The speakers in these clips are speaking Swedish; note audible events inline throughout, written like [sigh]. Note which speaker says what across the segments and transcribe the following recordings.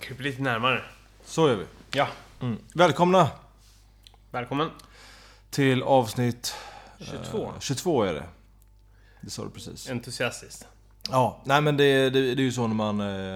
Speaker 1: Kryp lite närmare.
Speaker 2: Så gör vi.
Speaker 1: Ja.
Speaker 2: Välkomna
Speaker 1: Välkommen.
Speaker 2: till avsnitt
Speaker 1: 22.
Speaker 2: 22 är det. Det sa du precis.
Speaker 1: Eh, Entusiastiskt.
Speaker 2: Ja, nej men det, det, det är ju så när man eh,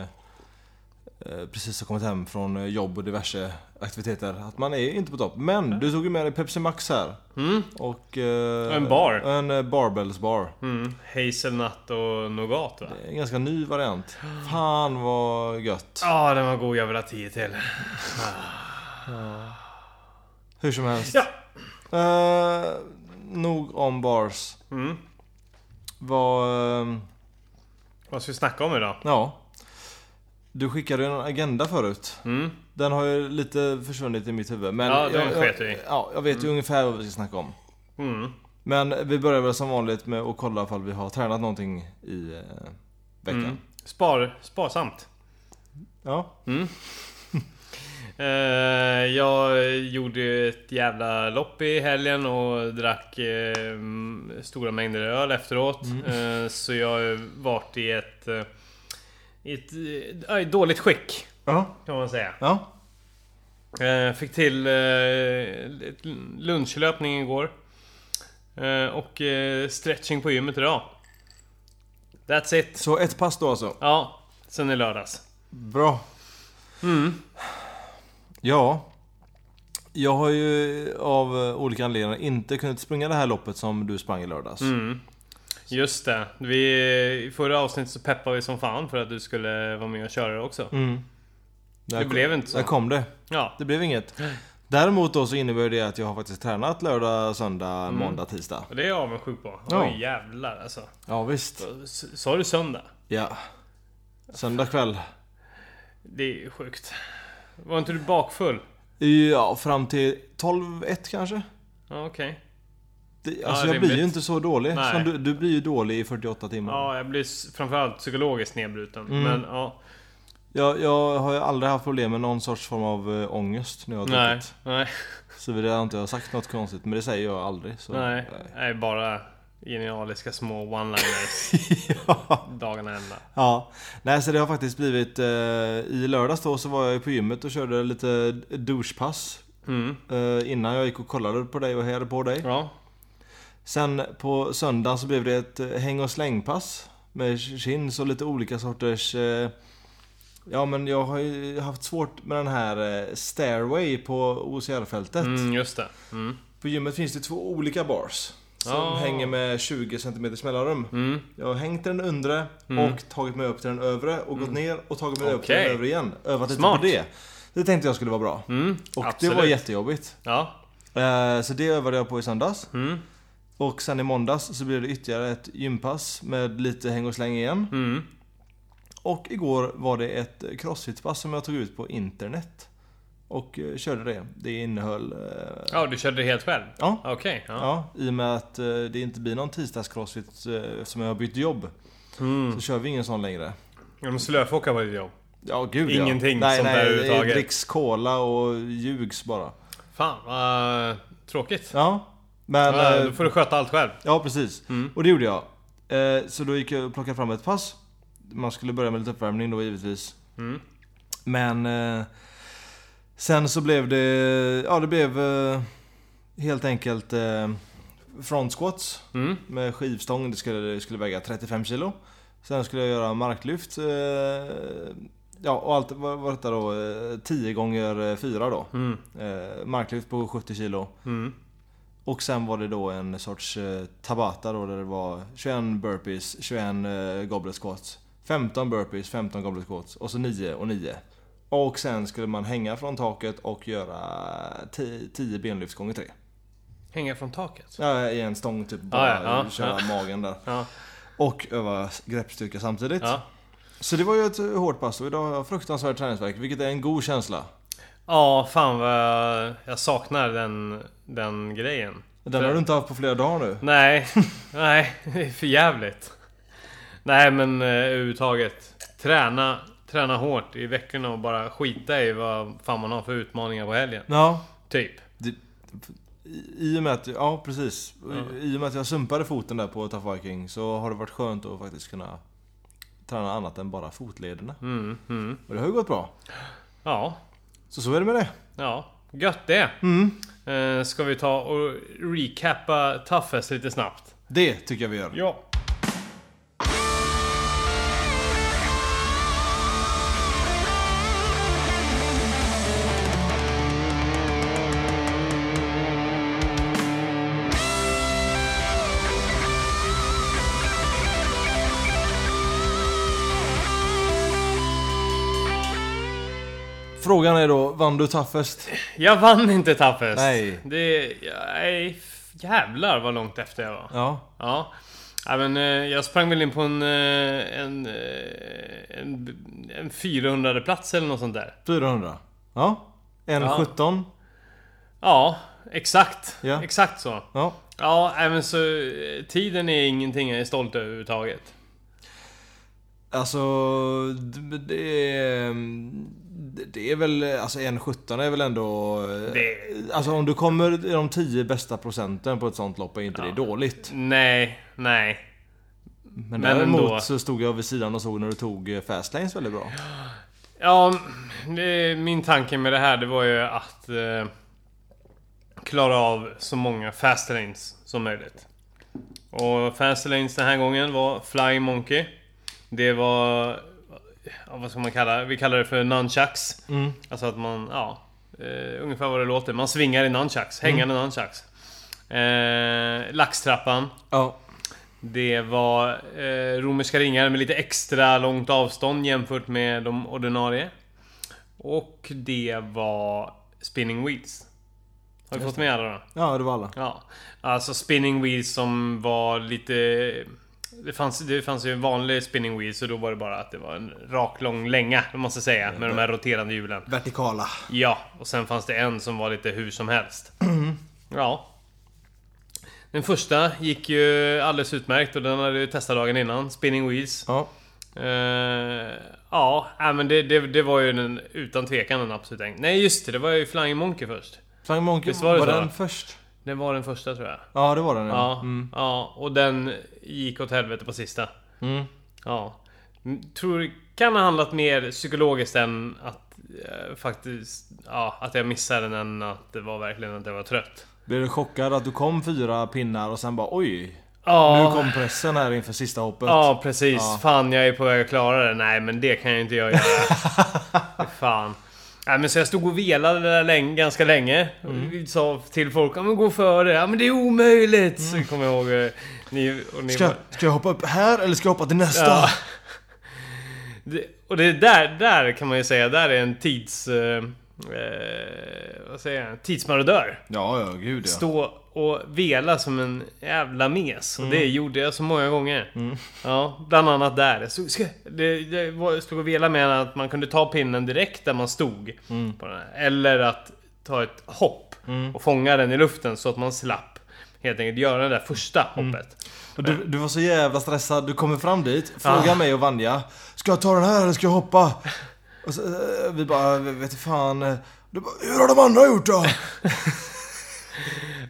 Speaker 2: eh, precis har kommit hem från eh, jobb och diverse aktiviteter. Att man är inte på topp. Men du tog ju med dig Pepsi Max här.
Speaker 1: Mm.
Speaker 2: Och... eh,
Speaker 1: Och en bar.
Speaker 2: En eh, Barbells bar.
Speaker 1: Mm. Hazelnut och nougat va?
Speaker 2: Det är En ganska ny variant. Fan vad gött.
Speaker 1: Ja, den var god. Jag vill ha tio till.
Speaker 2: Hur som helst.
Speaker 1: Ja.
Speaker 2: Eh, nog om bars.
Speaker 1: Mm.
Speaker 2: Vad... ehm,
Speaker 1: Vad ska vi snacka om idag?
Speaker 2: Ja. Du skickade en agenda förut.
Speaker 1: Mm.
Speaker 2: Den har ju lite försvunnit i mitt huvud. Men
Speaker 1: Ja, den
Speaker 2: jag,
Speaker 1: sket vi
Speaker 2: jag,
Speaker 1: i.
Speaker 2: ja, jag vet ju ungefär vad vi ska snacka om.
Speaker 1: Mm.
Speaker 2: Men vi börjar väl som vanligt med att kolla ifall vi har tränat någonting i eh, veckan.
Speaker 1: Mm. Spar, sparsamt.
Speaker 2: Ja.
Speaker 1: Mm. Eh, jag gjorde ett jävla lopp i helgen och drack eh, m- stora mängder öl efteråt. Eh, så jag har varit i ett, eh, i ett eh, i dåligt skick
Speaker 2: Ja.
Speaker 1: kan man säga.
Speaker 2: Ja.
Speaker 1: Eh, Fick till eh, ett lunchlöpning igår. Eh, Och eh, stretching på gymmet idag. That's it.
Speaker 2: Så ett pass då alltså.
Speaker 1: Ja, sen i lördags.
Speaker 2: Bra.
Speaker 1: Mm.
Speaker 2: Ja. Jag har ju av eh, olika anledningar inte kunnat springa det här loppet som du sprang i lördags.
Speaker 1: Mm. Just det. Vi, I förra avsnittet så peppade vi som fan för att du skulle vara med och köra det också.
Speaker 2: Mm. Där
Speaker 1: Det
Speaker 2: kom-
Speaker 1: blev inte så.
Speaker 2: Där kom det.
Speaker 1: Ja.
Speaker 2: Det blev inget. Däremot då så innebär det att jag har faktiskt tränat lördag, söndag,
Speaker 1: Mm.
Speaker 2: måndag, tisdag.
Speaker 1: Och det är jag avundsjuk på.
Speaker 2: Ja.
Speaker 1: Oj jävlar alltså.
Speaker 2: Ja visst.
Speaker 1: S- Sa du söndag?
Speaker 2: Ja. Söndag kväll.
Speaker 1: Det är sjukt. Var inte du bakfull?
Speaker 2: Ja, fram till 12-1 kanske?
Speaker 1: Ja, okej.
Speaker 2: Det,
Speaker 1: Ja,
Speaker 2: alltså jag
Speaker 1: rimligt.
Speaker 2: blir ju inte så dålig.
Speaker 1: Nej.
Speaker 2: Som du, du blir ju dålig i 48 timmar.
Speaker 1: Ja, jag blir s- framförallt psykologiskt nedbruten.
Speaker 2: Mm.
Speaker 1: Men ja,
Speaker 2: Jag, jag har ju aldrig haft problem med någon sorts form av äh, ångest när jag har
Speaker 1: nej,
Speaker 2: druckit.
Speaker 1: nej,
Speaker 2: Såvida jag inte har sagt något konstigt, men det säger jag aldrig. Så.
Speaker 1: nej. Nej, bara genialiska små
Speaker 2: [laughs]
Speaker 1: one-liners
Speaker 2: [laughs] ja.
Speaker 1: dagarna ända.
Speaker 2: Ja, nej så det har faktiskt blivit eh, I lördags då så var jag ju på gymmet och körde lite douchepass
Speaker 1: Mm.
Speaker 2: eh, Innan jag gick och kollade på dig och hejade på dig
Speaker 1: Ja.
Speaker 2: Sen på söndagen så blev det ett eh, häng och slängpass Med chins och lite olika sorters eh, Ja men jag har ju haft svårt med den här eh, stairway på OCR-fältet
Speaker 1: Mm, just det. Mm.
Speaker 2: På gymmet finns det två olika bars Som
Speaker 1: Ah.
Speaker 2: hänger med 20 cm mellanrum
Speaker 1: Mm.
Speaker 2: jag har hängt till den undre
Speaker 1: Mm.
Speaker 2: och tagit mig upp till den övre och gått ner och tagit mig upp till den
Speaker 1: Okej.
Speaker 2: övre igen. Övat lite
Speaker 1: Smart.
Speaker 2: på det. Det tänkte jag skulle vara bra.
Speaker 1: Mm.
Speaker 2: Och
Speaker 1: Absolut.
Speaker 2: det var jättejobbigt.
Speaker 1: Ja.
Speaker 2: Eh, Så det övade jag på i söndags.
Speaker 1: Mm.
Speaker 2: Och sen i måndags så blev det ytterligare ett gympass med lite häng och släng igen.
Speaker 1: Mm.
Speaker 2: Och igår var det ett crossfitpass som jag tog ut på internet. Och eh, körde det. Det innehöll... eh,
Speaker 1: Ja, du körde det helt själv?
Speaker 2: Ja.
Speaker 1: Okej. ja.
Speaker 2: Ja, i och med att eh, det inte blir någon tisdags crossfit eh, eftersom jag har bytt jobb.
Speaker 1: Mm.
Speaker 2: Så kör vi ingen sån längre.
Speaker 1: De slöfockar var ditt jobb.
Speaker 2: Ja, gud
Speaker 1: Ingenting
Speaker 2: ja.
Speaker 1: sånt där
Speaker 2: Nej,
Speaker 1: överhuvudtaget.
Speaker 2: nej, dricks cola och ljugs bara.
Speaker 1: Fan vad tråkigt.
Speaker 2: Ja, men...
Speaker 1: Ja,
Speaker 2: eh,
Speaker 1: då får du sköta allt själv.
Speaker 2: Ja, precis.
Speaker 1: Mm.
Speaker 2: Och det gjorde jag. Eh, Så då gick jag och plockade fram ett pass. Man skulle börja med lite uppvärmning då givetvis.
Speaker 1: Mm.
Speaker 2: Men... eh, Sen så blev det... Ja, det blev eh, helt enkelt eh, front squats
Speaker 1: Mm.
Speaker 2: med skivstång. Det skulle, det skulle väga 35 kilo. Sen skulle jag göra marklyft. eh, Ja, och allt var var detta då eh, 10 gånger 4 då.
Speaker 1: Mm.
Speaker 2: Eh, marklyft på 70 kilo.
Speaker 1: Mm.
Speaker 2: Och sen var det då en sorts eh, tabata då där det var 21 burpees, 21 eh, goblet squats. 15 burpees, 15 goblet squats och så 9 och 9. Och sen skulle man hänga från taket och göra 10 10 benlyft gånger 3.
Speaker 1: Hänga från taket?
Speaker 2: Ja, I en stång typ bara
Speaker 1: Ah, ja, ja,
Speaker 2: köra magen där.
Speaker 1: Ja.
Speaker 2: Och öva greppstyrka samtidigt.
Speaker 1: Ja.
Speaker 2: Så det var ju ett eh, hårt pass och idag har jag fruktansvärd träningsvärk vilket är en god känsla.
Speaker 1: Ja, fan vad jag saknar den, den grejen.
Speaker 2: Den har du inte haft på flera dagar nu.
Speaker 1: Nej, [laughs] nej, det är för jävligt. Nej men eh, överhuvudtaget. Träna, träna hårt i veckorna och bara skita i vad fan man har för utmaningar på helgen.
Speaker 2: Ja,
Speaker 1: Typ.
Speaker 2: I- I och med att, ja precis. I- I och med att jag sumpade foten där på Tough Viking så har det varit skönt att faktiskt kunna träna annat än bara fotlederna.
Speaker 1: Mm, mm.
Speaker 2: Och det har ju gått bra.
Speaker 1: Ja,
Speaker 2: Så så är det med det.
Speaker 1: ja. Gött det! Eh, Ska vi ta och recappa Toughest lite snabbt?
Speaker 2: Det tycker jag vi gör.
Speaker 1: Ja.
Speaker 2: Frågan är då, vann du toughest?
Speaker 1: Jag vann inte Toughest.
Speaker 2: Nej.
Speaker 1: Det... Nej, f- jävlar vad långt efter jag var.
Speaker 2: Ja.
Speaker 1: Ja. Ja, men, eh, jag sprang väl in på en, eh, en, eh, en, en 400 plats eller något sånt där.
Speaker 2: 400. Ja. En
Speaker 1: Ja.
Speaker 2: 17.
Speaker 1: Ja, exakt.
Speaker 2: Ja.
Speaker 1: Exakt så.
Speaker 2: Ja.
Speaker 1: Ja, nej, men så eh, tiden är ingenting jag är stolt över överhuvudtaget.
Speaker 2: Alltså, d- det är, mm, det är väl, alltså en 17 är väl ändå...
Speaker 1: Det-
Speaker 2: Alltså om du kommer i de 10 bästa procenten på ett sånt lopp är inte det dåligt.
Speaker 1: Nej, nej.
Speaker 2: Men,
Speaker 1: Men
Speaker 2: däremot
Speaker 1: ändå.
Speaker 2: så stod jag vid sidan och såg när du tog eh, fastlanes väldigt bra.
Speaker 1: Ja, det, min tanke med det här det var ju att eh, klara av så många fast lanes som möjligt. Och fast lanes den här gången var Flying Monkey. Det var... Ja, vad ska man kalla det? Vi kallar det för nunchucks. Alltså att man, ja... Eh, ungefär vad det låter. Man svingar i nunchucks. Hängande nunchucks. Eh, laxtrappan.
Speaker 2: Ja.
Speaker 1: Det var eh, romerska ringar med lite extra långt avstånd jämfört med de ordinarie. Och det var spinning wheels. Har vi fått med alla då?
Speaker 2: Ja, det var alla.
Speaker 1: Ja. Alltså spinning wheels som var lite... Det fanns, det fanns ju en vanlig spinning wheels och då var det bara att det var en rak lång länga, om man ska säga, med de här roterande hjulen.
Speaker 2: Vertikala.
Speaker 1: Ja, och sen fanns det en som var lite hur som helst. Ja. Den första gick ju alldeles utmärkt och den hade ju testat dagen innan. Spinning Wheels.
Speaker 2: Ja.
Speaker 1: Eh, ja, äh, men det, det, det var ju den, utan tvekan den absolut en. Nej just det, det var ju Flying Monkey först.
Speaker 2: Flying Monkey,
Speaker 1: Visst var det
Speaker 2: var,
Speaker 1: så?
Speaker 2: den först?
Speaker 1: Den var den första tror jag.
Speaker 2: Ja, det var den ja.
Speaker 1: Ja, ja och den gick åt helvete på sista.
Speaker 2: Mm.
Speaker 1: Ja. Mm, Tror det kan ha handlat mer psykologiskt än att eh, faktiskt... Ja, att jag missade den än att det var verkligen att jag var trött.
Speaker 2: Blev du chockad att du kom fyra pinnar och sen bara oj. Nu
Speaker 1: Ja,
Speaker 2: kom pressen här inför sista hoppet.
Speaker 1: ja precis.
Speaker 2: Ja.
Speaker 1: Fan, jag är på väg att klara det. Nej, men det kan jag inte jag göra. Fan. Nej, men så jag stod och velade där länge, ganska länge. Mm. Sa till folk att gå före. Ja, men det är omöjligt. Så kommer jag ihåg... eh, Ni, och ni
Speaker 2: Ska,
Speaker 1: bara-
Speaker 2: jag- ska jag hoppa upp här eller ska jag hoppa till nästa?
Speaker 1: Ja. [laughs] Det, och det där, där kan man ju säga, där är en tids... Eh, eh, vad säger jag? Tidsmarodör.
Speaker 2: Ja, ja, gud ja.
Speaker 1: Stå och vela som en jävla mes. Och
Speaker 2: Mm.
Speaker 1: det gjorde jag så många gånger. Ja, bland annat där. Så, ska, det, det var, stod och vela med att man kunde ta pinnen direkt där man stod.
Speaker 2: Mm.
Speaker 1: På den här. Eller att ta ett hopp och fånga den i luften så att man slapp helt enkelt göra det där första
Speaker 2: Mm.
Speaker 1: hoppet.
Speaker 2: Och du, du var så jävla stressad, du kommer fram dit, frågar mig och Vanja Ska jag ta den här eller ska jag hoppa? Och så, eh, vi bara, "V- vet fan eh." du bara, Hur har de andra gjort då?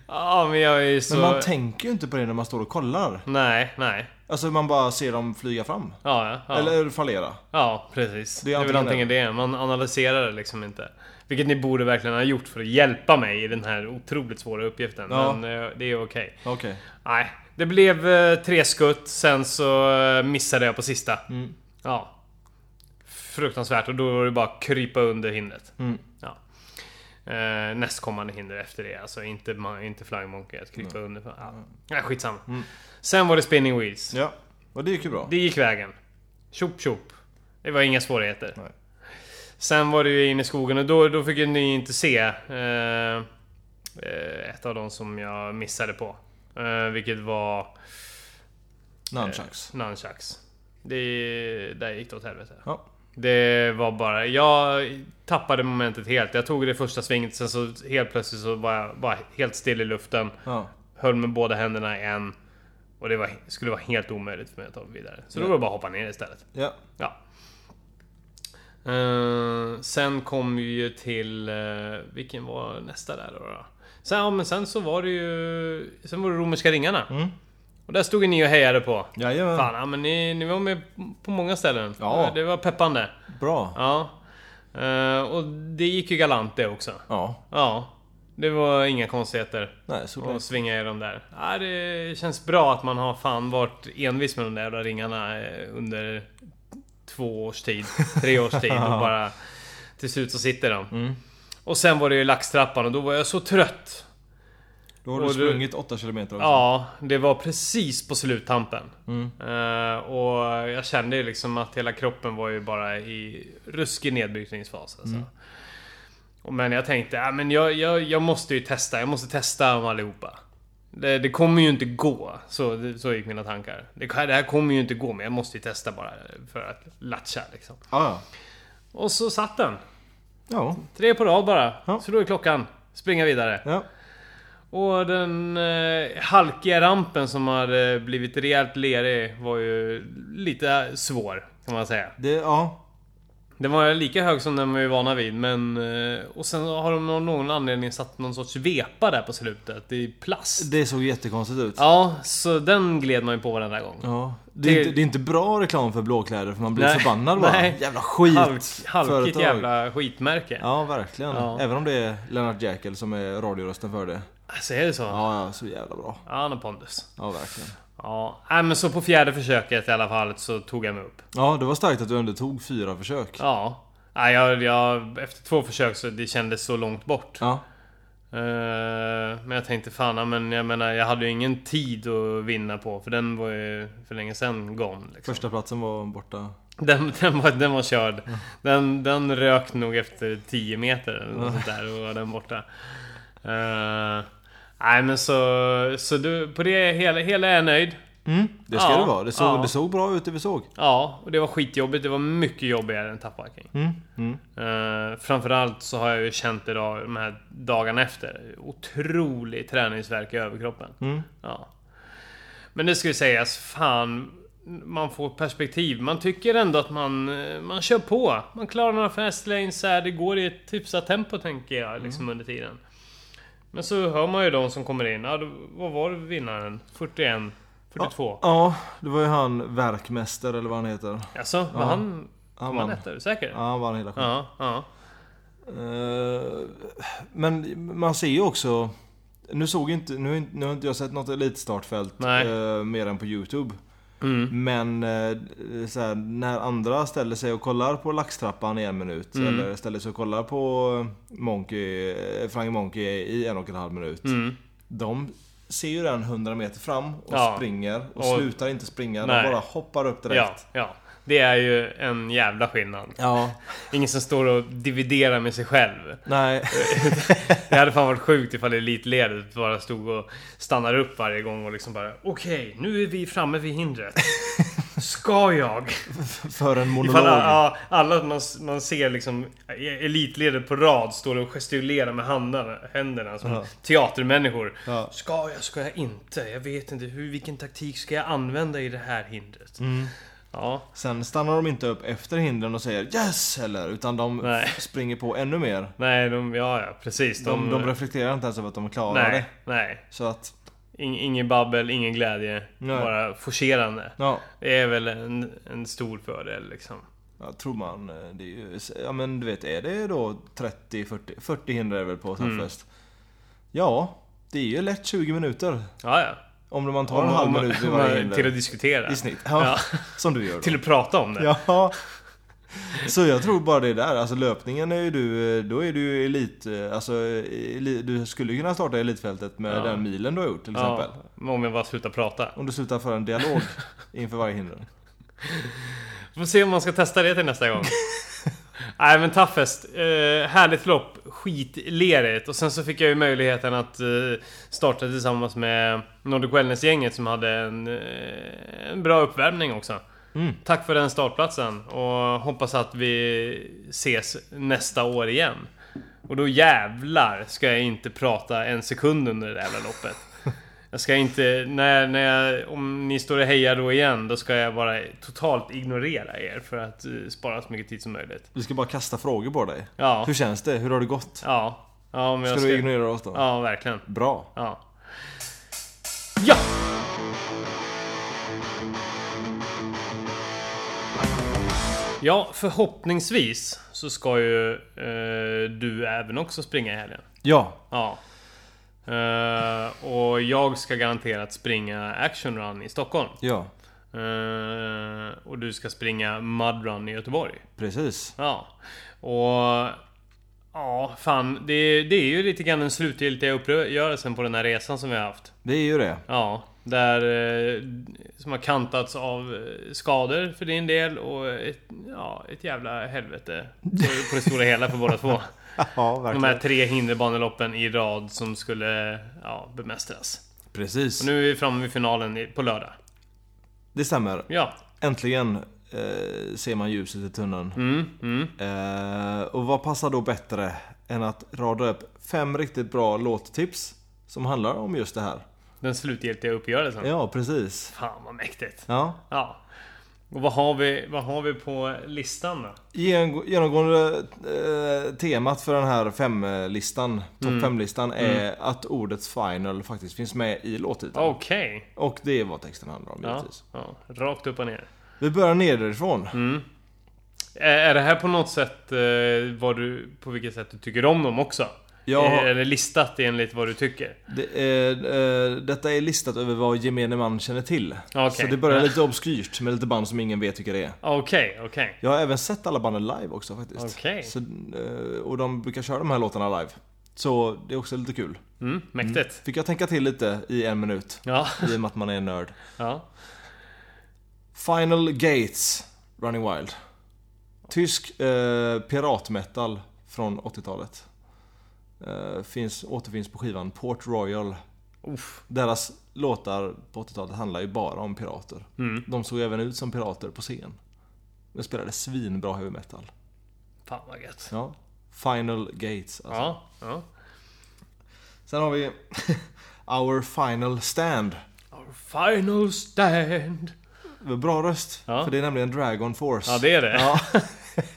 Speaker 1: Ja, men jag är ju så...
Speaker 2: Men man tänker ju inte på det när man står och kollar
Speaker 1: Nej, nej.
Speaker 2: Alltså man bara ser dem flyga fram
Speaker 1: Ja, ja, ja.
Speaker 2: Eller fallera
Speaker 1: Ja, precis. Det
Speaker 2: Det
Speaker 1: är,
Speaker 2: är
Speaker 1: väl antingen
Speaker 2: antingen
Speaker 1: det. Man analyserar det liksom inte. Vilket ni borde verkligen ha gjort för att hjälpa mig i den här otroligt svåra uppgiften.
Speaker 2: Ja.
Speaker 1: Men eh, det är okej.
Speaker 2: Okej
Speaker 1: Nej, det blev eh, tre skutt, sen så eh, missade jag på sista. Ja. Fruktansvärt, och då var det bara att krypa under hindret.
Speaker 2: Mm.
Speaker 1: Ja. Eh, nästkommande hinder efter det, alltså inte, man, inte Flying Monkey, att krypa under. för- Ja. Ja, skitsamma. Sen var det Spinning Wheels.
Speaker 2: Ja, och det gick ju bra
Speaker 1: Det gick vägen. Tjopp tjopp. Det var inga svårigheter.
Speaker 2: Nej.
Speaker 1: Sen var det ju in i skogen och då, då fick ju ni inte se eh, eh, ett av dem som jag missade på. Eh, vilket var
Speaker 2: Nunchucks
Speaker 1: nunchucks. Det, där gick det åt helvete.
Speaker 2: Ja,
Speaker 1: Det var bara... Jag tappade momentet helt. Jag tog det första svinget, sen så helt plötsligt så var jag bara helt still i luften.
Speaker 2: ja
Speaker 1: Höll med båda händerna i en. Och det var, skulle vara helt omöjligt för mig att ta mig vidare. Så då var det bara att hoppa ner istället.
Speaker 2: Ja,
Speaker 1: Ja. Eh, sen kom vi ju till... eh, vilken var nästa där då? då? Sen, ja, men sen så var det ju... Sen var det romerska ringarna. Och där stod ju ni och hejade på.
Speaker 2: jajamän
Speaker 1: Fan, ja, men ni, ni var med på många ställen.
Speaker 2: Ja.
Speaker 1: Det var peppande.
Speaker 2: Bra
Speaker 1: Ja. Eh, och det gick ju galant det också.
Speaker 2: Ja,
Speaker 1: Ja, det var inga konstigheter.
Speaker 2: nej, solklart.
Speaker 1: Och svinga i de där. Ja, det känns bra att man har fan varit envis med de där jävla ringarna eh, under två års tid, tre års tid och bara till slut så sitter de. Och sen var det ju laxtrappan och då var jag så trött.
Speaker 2: Då har du
Speaker 1: och du-
Speaker 2: sprungit 8 km också.
Speaker 1: Ja, det var precis på sluttampen.
Speaker 2: Mm.
Speaker 1: Eh, och jag kände ju liksom att hela kroppen var ju bara i ruskig nedbrytningsfas. Alltså.
Speaker 2: Mm.
Speaker 1: Och Men jag tänkte, ja men jag, jag, jag måste ju testa. Jag måste testa dem allihopa. Det, det kommer ju inte gå. Så, det- så gick mina tankar. Det, det här kommer ju inte gå, men jag måste ju testa bara för att latcha liksom.
Speaker 2: Ja,
Speaker 1: Och så satt den.
Speaker 2: ja.
Speaker 1: Tre på rad bara.
Speaker 2: Ja.
Speaker 1: Så då är klockan. Springa vidare.
Speaker 2: ja.
Speaker 1: Och den eh, halkiga rampen som hade blivit rejält lerig var ju lite svår kan man säga.
Speaker 2: Det, ja.
Speaker 1: Den var lika hög som den vi är vana vid men... eh, Och sen har de av någon anledning satt någon sorts vepa där på slutet i plast.
Speaker 2: det såg jättekonstigt ut.
Speaker 1: Ja, så den gled man ju på varenda gång.
Speaker 2: Ja. Det, är
Speaker 1: Det-
Speaker 2: inte, det är inte bra reklam för blåkläder för man blir
Speaker 1: Nej,
Speaker 2: förbannad bara.
Speaker 1: nej.
Speaker 2: Jävla skit!
Speaker 1: Halk, halkigt
Speaker 2: företag.
Speaker 1: jävla skitmärke.
Speaker 2: Ja, verkligen.
Speaker 1: Ja.
Speaker 2: Även om det är Lennart Jäkel som är radiorösten för det.
Speaker 1: Alltså är det så? Ja.
Speaker 2: Ja, ja, så jävla bra.
Speaker 1: Han har pondus.
Speaker 2: Ja, verkligen.
Speaker 1: Ja, Nej, men så på fjärde försöket i alla fall så tog jag mig upp.
Speaker 2: Ja, det var starkt att du ändå tog fyra försök. Ja.
Speaker 1: Ja. Nej, jag, jag, efter två försök så det kändes så långt bort. Eh, Men jag tänkte fan, ja, men jag menar jag hade ju ingen tid att vinna på för den var ju för länge sedan gone. Liksom.
Speaker 2: Första platsen var borta.
Speaker 1: Den, den, var, den var körd. Den, den rök nog efter 10 meter eller något sånt där och var den borta. Eh, nej men så, så du, på det hela, hela är jag nöjd.
Speaker 2: Mm, det ska
Speaker 1: Ja,
Speaker 2: det vara. Det såg,
Speaker 1: ja.
Speaker 2: det såg bra ut det vi såg.
Speaker 1: Ja, och det var skitjobbigt. Det var mycket jobbigare än tappvacking.
Speaker 2: Mm. Mm.
Speaker 1: Eh, framförallt så har jag ju känt idag, de här dagarna efter, otrolig träningsvärk i överkroppen.
Speaker 2: Mm.
Speaker 1: Ja. Men det ska ju sägas, fan. Man får perspektiv. Man tycker ändå att man, eh, man kör på. Man klarar några fastlanes här, det går i ett hyfsat tempo tänker
Speaker 2: Mm.
Speaker 1: jag liksom under tiden. Men så hör man ju de som kommer in. Ja, då- vad var vinnaren? 41? 42?
Speaker 2: Ja, det var ju han verkmästare eller vad han heter.
Speaker 1: Alltså, var
Speaker 2: Ja.
Speaker 1: han...
Speaker 2: Han
Speaker 1: Var han
Speaker 2: vann.
Speaker 1: etta? Är du säker?
Speaker 2: Ja, han vann hela skiten.
Speaker 1: Ja, ja.
Speaker 2: Eh, Men man ser ju också... Nu såg ju inte... Nu, har inte- nu har inte jag sett något elitstartfält
Speaker 1: Nej.
Speaker 2: eh, mer än på Youtube.
Speaker 1: Mm.
Speaker 2: Men eh, så här, när andra ställer sig och kollar på laxtrappan i en minut
Speaker 1: Mm.
Speaker 2: eller ställer sig och kollar på Monkey, eh, Frank Monkey i en och en halv minut.
Speaker 1: Mm.
Speaker 2: De ser ju den 100 meter fram och
Speaker 1: Ja.
Speaker 2: springer och,
Speaker 1: Och-
Speaker 2: slutar inte springa.
Speaker 1: Nej.
Speaker 2: De bara hoppar upp direkt.
Speaker 1: Ja, ja. Det är ju en jävla skillnad.
Speaker 2: Ja,
Speaker 1: Ingen som står och dividerar med sig själv.
Speaker 2: nej. [laughs]
Speaker 1: Det hade fan varit sjukt ifall elitledet bara stod och stannade upp varje gång och liksom bara Okej, nu är vi framme vid hindret. Ska jag?
Speaker 2: För en monolog.
Speaker 1: Ifall alla, alla man, man ser liksom elitledet på rad står och gestikulerar med handen, händerna som
Speaker 2: Ja.
Speaker 1: teatermänniskor.
Speaker 2: Ja.
Speaker 1: Ska jag? Ska jag inte? Jag vet inte. Hur, vilken taktik ska jag använda i det här hindret? Ja,
Speaker 2: Mm. Sen stannar de inte upp efter hindren och säger 'Yes!' heller, utan de
Speaker 1: Nej.
Speaker 2: springer på ännu mer.
Speaker 1: nej, de, ja, ja precis.
Speaker 2: De, de reflekterar inte ens över att de klarar
Speaker 1: nej,
Speaker 2: det.
Speaker 1: nej.
Speaker 2: Så att,
Speaker 1: In, ingen babbel, ingen glädje.
Speaker 2: Nej.
Speaker 1: Bara forcerande.
Speaker 2: ja.
Speaker 1: Det är väl en, en stor fördel liksom.
Speaker 2: Jag tror man, eh, det är ju, ja men du vet, är det då 30, 40, 40 hinder är väl på
Speaker 1: Mm.
Speaker 2: Sunfest? Ja, det är ju lätt 20 minuter.
Speaker 1: Ja, ja.
Speaker 2: Om man tar en halv minut vid
Speaker 1: om man-
Speaker 2: varje
Speaker 1: Till att
Speaker 2: hinder.
Speaker 1: diskutera.
Speaker 2: I snitt. Ja,
Speaker 1: Ja.
Speaker 2: [laughs] Som du gör
Speaker 1: Till
Speaker 2: då.
Speaker 1: att prata om det.
Speaker 2: Ja. Så jag tror bara det där, alltså löpningen är ju du, eh, då är du ju elit, eh, alltså eli- du skulle ju kunna starta elitfältet med
Speaker 1: Ja.
Speaker 2: den milen du har gjort till exempel.
Speaker 1: Ja, om jag bara slutar prata.
Speaker 2: Om du slutar föra
Speaker 1: [laughs]
Speaker 2: en dialog inför varje hinder.
Speaker 1: Får se om man ska testa det till nästa gång. Nej men Toughest, eh, härligt lopp, skitlerigt. Och sen så fick jag ju möjligheten att eh, starta tillsammans med Nordic Wellness-gänget som hade en, eh, en bra uppvärmning också.
Speaker 2: Mm.
Speaker 1: Tack för den startplatsen och hoppas att vi ses nästa år igen. Och då jävlar ska jag inte prata en sekund under det där jävla loppet. Jag ska inte, när, när jag, om ni står och hejar då igen, då ska jag bara totalt ignorera er för att eh, spara så mycket tid som möjligt.
Speaker 2: Vi ska bara kasta frågor på dig.
Speaker 1: Ja,
Speaker 2: Hur känns det? Hur har det gått?
Speaker 1: ja, ja, men
Speaker 2: Ska,
Speaker 1: jag
Speaker 2: du
Speaker 1: ska,
Speaker 2: ignorera oss då?
Speaker 1: ja verkligen.
Speaker 2: Bra.
Speaker 1: Ja. Ja! Ja, förhoppningsvis så ska ju eh, du även också springa i helgen.
Speaker 2: Ja,
Speaker 1: Ja. Eh, och jag ska garanterat springa Action Run i Stockholm.
Speaker 2: ja,
Speaker 1: Eh, och du ska springa Mud Run i Göteborg.
Speaker 2: precis.
Speaker 1: Ja. Och... Ja, fan. Det, det är ju lite grann den slutgiltiga uppgörelsen på den här resan som vi har haft.
Speaker 2: Det är ju det.
Speaker 1: Ja, där eh, som har kantats av eh, skador för din del och ett, ja, ett jävla helvete på, på det stora hela för båda [laughs] två.
Speaker 2: Ja,
Speaker 1: De här tre hinderbaneloppen i rad som skulle ja, bemästras.
Speaker 2: Precis.
Speaker 1: Och nu är vi framme vid finalen i- på lördag.
Speaker 2: Det stämmer.
Speaker 1: Ja.
Speaker 2: Äntligen eh, ser man ljuset i tunneln.
Speaker 1: Mm, mm.
Speaker 2: Eh, och vad passar då bättre än att rada upp fem riktigt bra låttips som handlar om just det här?
Speaker 1: Den slutgiltiga uppgörelsen.
Speaker 2: Ja, precis.
Speaker 1: Fan vad mäktigt.
Speaker 2: Ja.
Speaker 1: Ja. Och vad har vi, vad har vi på listan då?
Speaker 2: Genomgå- Genomgående eh, temat för den här femlistan, topp
Speaker 1: Mm.
Speaker 2: fem-listan, är att ordet final faktiskt finns med i låttiteln.
Speaker 1: Okej.
Speaker 2: Och det är vad texten handlar om
Speaker 1: Ja,
Speaker 2: givetvis.
Speaker 1: ja. Rakt upp och ner.
Speaker 2: Vi börjar nederifrån.
Speaker 1: Mm. Är är det här på något sätt eh, vad du, på vilket sätt du tycker om dem också?
Speaker 2: Jag har-
Speaker 1: Eh, Eller listat enligt vad du tycker?
Speaker 2: Det är, eh, detta är listat över vad gemene man känner till.
Speaker 1: Okej.
Speaker 2: Så det börjar lite obskyrt med lite band som ingen vet vilka det är.
Speaker 1: Okej, okej.
Speaker 2: Jag har även sett alla banden live också faktiskt.
Speaker 1: Okej.
Speaker 2: Så, eh, och de brukar köra de här låtarna live. Så det är också lite kul.
Speaker 1: Mm, mäktigt.
Speaker 2: Fick jag tänka till lite i en minut.
Speaker 1: Mm. Ja,
Speaker 2: I och med att man är en nörd.
Speaker 1: ja.
Speaker 2: Final Gates, Running Wild. Tysk eh, piratmetal från 80-talet. Eh, finns, återfinns på skivan Port Royal.
Speaker 1: Uff.
Speaker 2: Deras låtar på 80-talet handlar ju bara om pirater.
Speaker 1: Mm.
Speaker 2: De såg även ut som pirater på scen. De spelade svinbra heavy metal.
Speaker 1: Fan vad gött.
Speaker 2: Ja. Final Gates. Alltså.
Speaker 1: Ja, ja.
Speaker 2: Sen har vi [laughs] Our Final Stand.
Speaker 1: Our final stand.
Speaker 2: Bra röst,
Speaker 1: Ja.
Speaker 2: för det är nämligen Dragon Force.
Speaker 1: Ja, det är det.
Speaker 2: Ja.
Speaker 1: [laughs]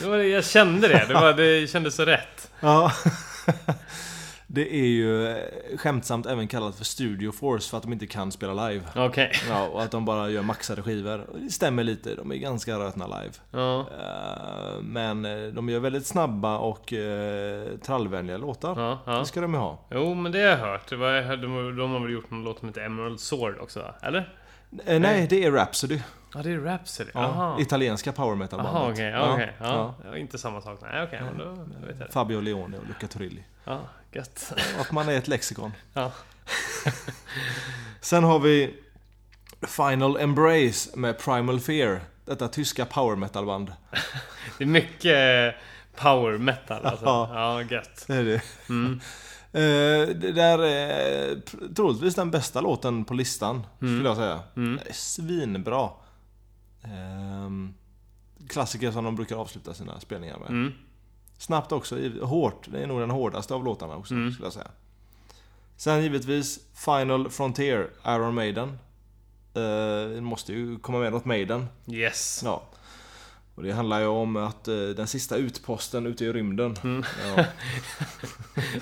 Speaker 1: det var, det- jag kände det. Det, var, det kändes så rätt.
Speaker 2: Ja. [laughs] Det är ju eh, skämtsamt även kallat för Studio Force för att de inte kan spela live.
Speaker 1: Okej.
Speaker 2: Ja, och att de bara gör maxade skivor. Och Det stämmer lite, de är ganska rötna live.
Speaker 1: Ja,
Speaker 2: Eh, Men eh, de gör väldigt snabba och eh, trallvänliga låtar.
Speaker 1: ja,
Speaker 2: Det
Speaker 1: ja.
Speaker 2: ska de ju ha.
Speaker 1: Jo, men det har jag hört. Det var, jag hörde- de, de har väl gjort någon låt som heter Emerald Sword också, va? eller?
Speaker 2: Eh, Nej, det är Rhapsody.
Speaker 1: Ja, det är Rhapsody.
Speaker 2: Ja,
Speaker 1: Aha.
Speaker 2: Italienska power metal
Speaker 1: Jaha,
Speaker 2: bandet.
Speaker 1: okej. ja,
Speaker 2: Ja,
Speaker 1: okej. ja.
Speaker 2: ja.
Speaker 1: Ja, Inte samma sak. Nej, okej. men då vet jag det.
Speaker 2: Fabio Leone och Luca Turilli.
Speaker 1: Ja, gött.
Speaker 2: Att man är ett lexikon.
Speaker 1: Ja.
Speaker 2: Sen har vi Final Embrace med Primal Fear. Detta tyska power metal band.
Speaker 1: Det är mycket eh, power metal alltså.
Speaker 2: Ja.
Speaker 1: Ja, gött.
Speaker 2: Det är det. Mm. Eh, det där är pr- troligtvis den bästa låten på listan, skulle jag säga. Det är svinbra. Ehm, klassiker som de brukar avsluta sina spelningar med.
Speaker 1: Mm.
Speaker 2: Snabbt också, giv- hårt. Det är nog den hårdaste av låtarna också, skulle jag säga. Sen givetvis Final Frontier, Iron Maiden. Eh, Det måste ju komma med något Maiden.
Speaker 1: Yes.
Speaker 2: Ja. Och det handlar ju om att eh, den sista utposten ute i rymden.
Speaker 1: Mm.
Speaker 2: Ja, [laughs]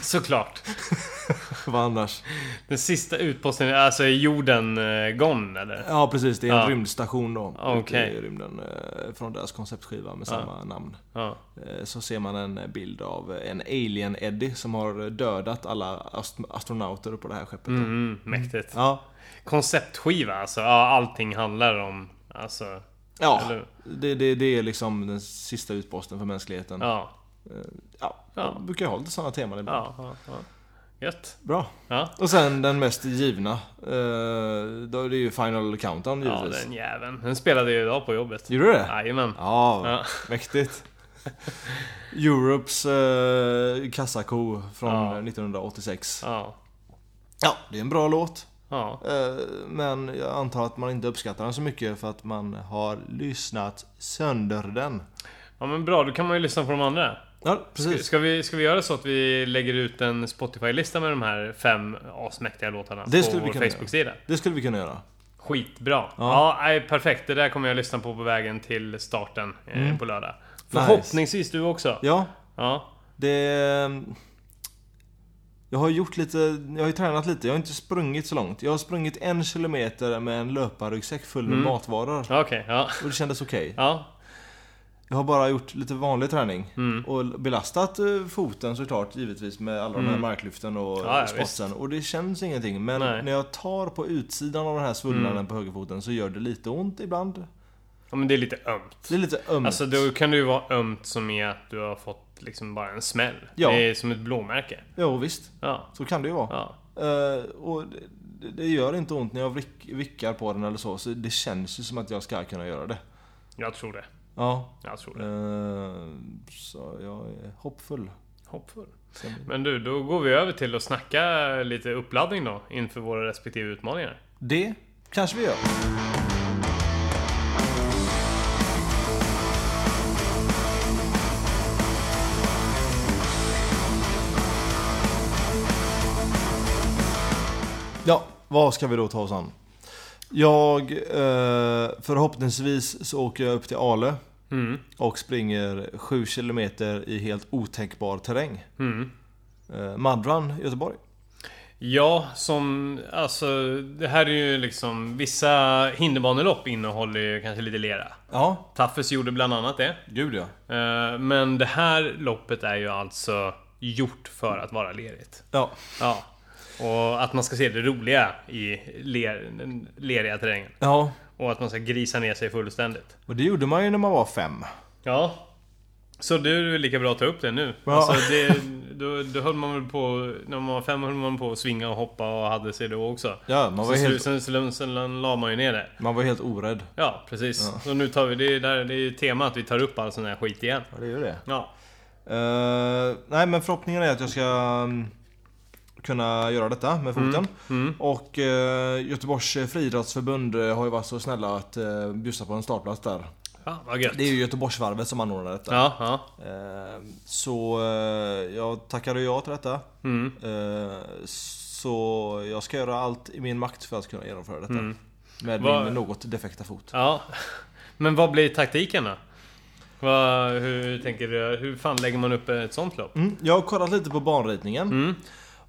Speaker 1: Såklart.
Speaker 2: vad annars?
Speaker 1: Den sista utposten, alltså är jorden eh, gone eller?
Speaker 2: Ja precis, det är en
Speaker 1: Ja.
Speaker 2: rymdstation då.
Speaker 1: Ja,
Speaker 2: ute
Speaker 1: okej. Ah.
Speaker 2: I rymden. eh, Från deras konceptskiva med samma namn.
Speaker 1: Ja.
Speaker 2: Eh, Så ser man en bild av en alien-Eddie som har dödat alla ast- astronauter på det här skeppet. då.
Speaker 1: Mm, mäktigt.
Speaker 2: Ja,
Speaker 1: Konceptskiva alltså. Ja, allting handlar om... Alltså...
Speaker 2: ja.
Speaker 1: Eller-
Speaker 2: Det, det, det är liksom den sista utposten för mänskligheten. Ja.
Speaker 1: Ja. Ja.
Speaker 2: Jag brukar ju ha lite sådana teman ibland.
Speaker 1: Ja. ja, ja. Gött.
Speaker 2: Bra.
Speaker 1: Ja.
Speaker 2: Och sen den mest givna. eh, Då är det ju Final Countdown
Speaker 1: Ja,
Speaker 2: givetvis.
Speaker 1: den jäveln. Den spelade jag idag på jobbet.
Speaker 2: Gjorde du det?
Speaker 1: Jajamän.
Speaker 2: Ja,
Speaker 1: Ja. [laughs]
Speaker 2: mäktigt. Europes eh, kassako från
Speaker 1: Ja.
Speaker 2: 1986.
Speaker 1: Ja.
Speaker 2: Ja, det är en bra låt.
Speaker 1: Ja.
Speaker 2: Eh, men jag antar att man inte uppskattar den så mycket för att man har lyssnat sönder den.
Speaker 1: Ja men bra, då kan man ju lyssna på de andra.
Speaker 2: Ja, precis.
Speaker 1: Ska vi, ska vi göra så att vi lägger ut en Spotify-lista med de här fem asmäktiga låtarna
Speaker 2: Det
Speaker 1: på
Speaker 2: skulle vi
Speaker 1: vår
Speaker 2: kunna göra.
Speaker 1: Facebook-sida?
Speaker 2: Det skulle vi kunna göra.
Speaker 1: Skitbra! Ja, nej, perfekt. Det där kommer jag lyssna på på vägen till starten eh, på lördag. Förhoppningsvis du också. Ja.
Speaker 2: Mm. Ja,
Speaker 1: ja.
Speaker 2: det... eh, Jag har gjort lite, jag har ju tränat lite, jag har inte sprungit så långt. Jag har sprungit en
Speaker 1: Mm.
Speaker 2: kilometer med en löparryggsäck full med matvaror.
Speaker 1: Okej, ja.
Speaker 2: Och det kändes okej.
Speaker 1: ja.
Speaker 2: Jag har bara gjort lite vanlig träning.
Speaker 1: Mm.
Speaker 2: Och belastat eh, foten såklart givetvis med alla de här
Speaker 1: Mm.
Speaker 2: marklyften och
Speaker 1: Ja, ja,
Speaker 2: spotsen. Och det känns ingenting. Men
Speaker 1: Nej. Mm.
Speaker 2: när jag tar på utsidan av den här svullnaden på högerfoten så gör det lite ont ibland.
Speaker 1: Ja men det är lite ömt.
Speaker 2: Det är lite ömt.
Speaker 1: Alltså då kan det ju vara ömt som i att du har fått liksom bara en smäll.
Speaker 2: Ja.
Speaker 1: Det är som ett blåmärke.
Speaker 2: Jo visst,
Speaker 1: Ja.
Speaker 2: så kan det ju vara.
Speaker 1: ja.
Speaker 2: Eh, och det, det gör inte ont när jag vrick, vickar på den eller så. Så det känns ju som att jag ska kunna göra det.
Speaker 1: Jag tror det.
Speaker 2: Ja.
Speaker 1: Jag tror det.
Speaker 2: eh, så jag är hoppfull.
Speaker 1: Hoppfull.
Speaker 2: Sen,
Speaker 1: Men du, då går vi över till att snacka lite uppladdning då inför våra respektive utmaningar.
Speaker 2: det kanske vi gör. Ja, vad ska vi då ta oss an? Jag, eh, förhoppningsvis så åker jag upp till Ale
Speaker 1: Mm.
Speaker 2: och springer 7 km i helt otänkbar terräng.
Speaker 1: Mm.
Speaker 2: Eh, Madran, Göteborg.
Speaker 1: Ja, som... Alltså, det här är ju liksom... Vissa hinderbanelopp innehåller ju kanske lite lera.
Speaker 2: Ja,
Speaker 1: Taffes gjorde bland annat det.
Speaker 2: gud ja.
Speaker 1: Eh, Men det här loppet är ju alltså gjort för att vara lerigt.
Speaker 2: Ja,
Speaker 1: Ja. Och att man ska se det roliga i ler, den leriga terrängen.
Speaker 2: ja.
Speaker 1: Och att man ska grisa ner sig fullständigt.
Speaker 2: och det gjorde man ju när man var fem.
Speaker 1: Ja. Så du är lika bra att ta upp det nu.
Speaker 2: Ja.
Speaker 1: Alltså det, då, då höll man väl på, när man var fem höll man på att svinga och hoppa och hade sig då också.
Speaker 2: Ja, man var,
Speaker 1: så
Speaker 2: helt,
Speaker 1: sen, sen, sen la man ju ner det.
Speaker 2: man var helt orädd.
Speaker 1: Ja, precis. Så nu tar vi, det är, där, det är ju temat, vi tar upp all sån här skit igen.
Speaker 2: Ja, det är ju det.
Speaker 1: Ja.
Speaker 2: Eh, nej, men förhoppningen är att jag ska mm, kunna göra detta med foten.
Speaker 1: Mm.
Speaker 2: Och eh, Göteborgs friidrottsförbund eh, har ju varit så snälla att eh, bjussa på en startplats där.
Speaker 1: Ja, vad gött.
Speaker 2: Det är ju Göteborgsvarvet som anordnar detta.
Speaker 1: Ja, ja.
Speaker 2: Eh, så eh, jag tackade ja till detta.
Speaker 1: Mm.
Speaker 2: Eh, så jag ska göra allt i min makt för att kunna genomföra detta.
Speaker 1: Mm.
Speaker 2: Med
Speaker 1: Vad-
Speaker 2: min något defekta fot.
Speaker 1: Ja. Men vad blir taktiken då? Vad, hur tänker du? Hur fan lägger man upp ett sånt lopp?
Speaker 2: Mm, jag har kollat lite på banritningen.
Speaker 1: Mm.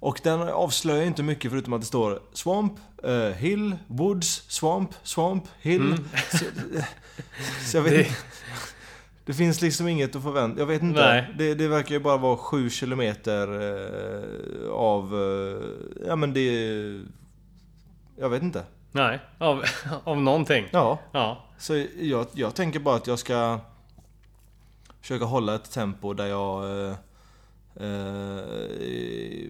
Speaker 2: Och den avslöjar inte mycket förutom att det står Swamp, eh, Hill, Woods, Swamp, Swamp, Hill.
Speaker 1: [laughs]
Speaker 2: Så, så jag vet
Speaker 1: Mm. Det-
Speaker 2: det... det finns liksom inget att förvänta Jag vet inte.
Speaker 1: Nej.
Speaker 2: Det, det verkar ju bara vara 7 kilometer eh, av... Eh, ja men det... Jag vet inte.
Speaker 1: Nej, av, [laughs] av någonting.
Speaker 2: Ja.
Speaker 1: Ja.
Speaker 2: Så jag, jag tänker bara att jag ska försöka hålla ett tempo där jag... Eh, eh,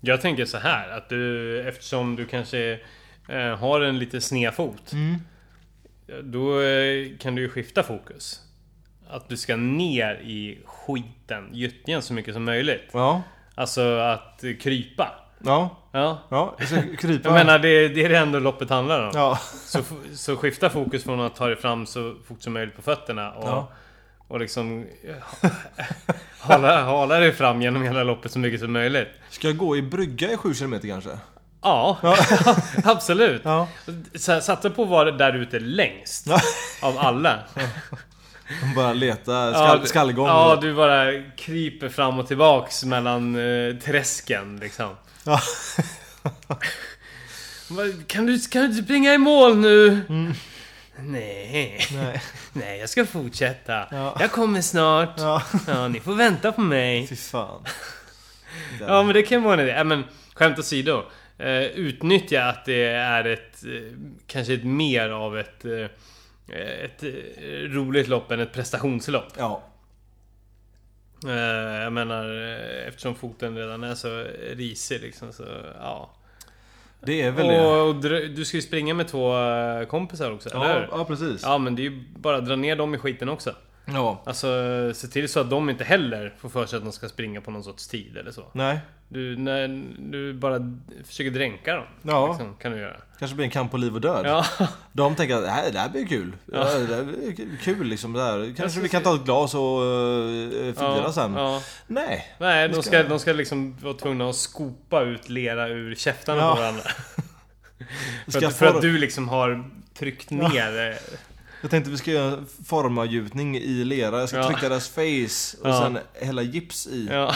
Speaker 1: Jag tänker så här att du, eftersom du kanske eh, har en lite sned fot.
Speaker 2: Mm.
Speaker 1: Då eh, kan du ju skifta fokus. Att du ska ner i skiten, gyttjan så mycket som möjligt.
Speaker 2: ja.
Speaker 1: Alltså att eh, krypa.
Speaker 2: Ja.
Speaker 1: Ja.
Speaker 2: Ja, jag ska krypa.
Speaker 1: Jag menar, det, det är det enda loppet handlar om.
Speaker 2: Ja.
Speaker 1: Så, så skifta fokus från att ta dig fram så fort som möjligt på fötterna och,
Speaker 2: Ja.
Speaker 1: och liksom [laughs] hala, hala dig fram genom hela loppet så mycket som möjligt.
Speaker 2: Ska jag gå i brygga i 7 km kanske?
Speaker 1: Ja, [laughs] absolut.
Speaker 2: Ja.
Speaker 1: Så- Satsa på att vara där ute längst
Speaker 2: Ja. [laughs]
Speaker 1: av alla.
Speaker 2: Bara leta skall,
Speaker 1: du-
Speaker 2: skallgång.
Speaker 1: Ja, du bara kryper fram och tillbaks mellan eh, träsken liksom.
Speaker 2: Ja. [laughs]
Speaker 1: Vad- Kan du, kan du inte springa i mål nu? Nej.
Speaker 2: Mm. Nej.
Speaker 1: [laughs] Nej, jag ska fortsätta.
Speaker 2: Ja.
Speaker 1: Jag kommer snart. Ja.
Speaker 2: Ja.
Speaker 1: ni får vänta på mig.
Speaker 2: Fy fan.
Speaker 1: Ja, men det kan vara en idé. Äh, men skämt åsido. Eh, utnyttja att det är ett... Eh, kanske ett mer av ett... Eh, ett eh, roligt lopp än ett prestationslopp.
Speaker 2: Ja.
Speaker 1: Eh, jag menar, eh, eftersom foten redan är så risig liksom så... Ja.
Speaker 2: Det är väl det.
Speaker 1: Och, och dr- du ska ju springa med två eh, kompisar också, eller
Speaker 2: Ja,
Speaker 1: hur?
Speaker 2: ja, precis.
Speaker 1: Ja, men det är ju bara att dra ner dem i skiten också.
Speaker 2: Ja.
Speaker 1: Alltså se till så att de inte heller får för sig att de ska springa på någon sorts tid eller så.
Speaker 2: Nej.
Speaker 1: Du, när, du bara d- försöker dränka dem.
Speaker 2: Ja.
Speaker 1: Liksom, kan du göra.
Speaker 2: Kanske blir en kamp på liv och död. [laughs]
Speaker 1: Ja,
Speaker 2: De tänker att det här, det här blir kul. Ja. det här blir kul liksom. Det här. Kanske vi kan ta ett glas och uh, fira
Speaker 1: ja,
Speaker 2: sen.
Speaker 1: Ja.
Speaker 2: Nej.
Speaker 1: Nej, de
Speaker 2: Ska-
Speaker 1: ska, de ska liksom vara tvungna att skopa ut lera ur käftarna
Speaker 2: Ja.
Speaker 1: på varandra.
Speaker 2: Vi
Speaker 1: För
Speaker 2: ska
Speaker 1: att, för
Speaker 2: for-
Speaker 1: att du liksom har tryckt ner... eh,
Speaker 2: Jag tänkte vi ska göra en formavgjutning i lera. Jag ska
Speaker 1: Ja.
Speaker 2: trycka deras face och
Speaker 1: Ja.
Speaker 2: sen hälla gips i.
Speaker 1: Ja,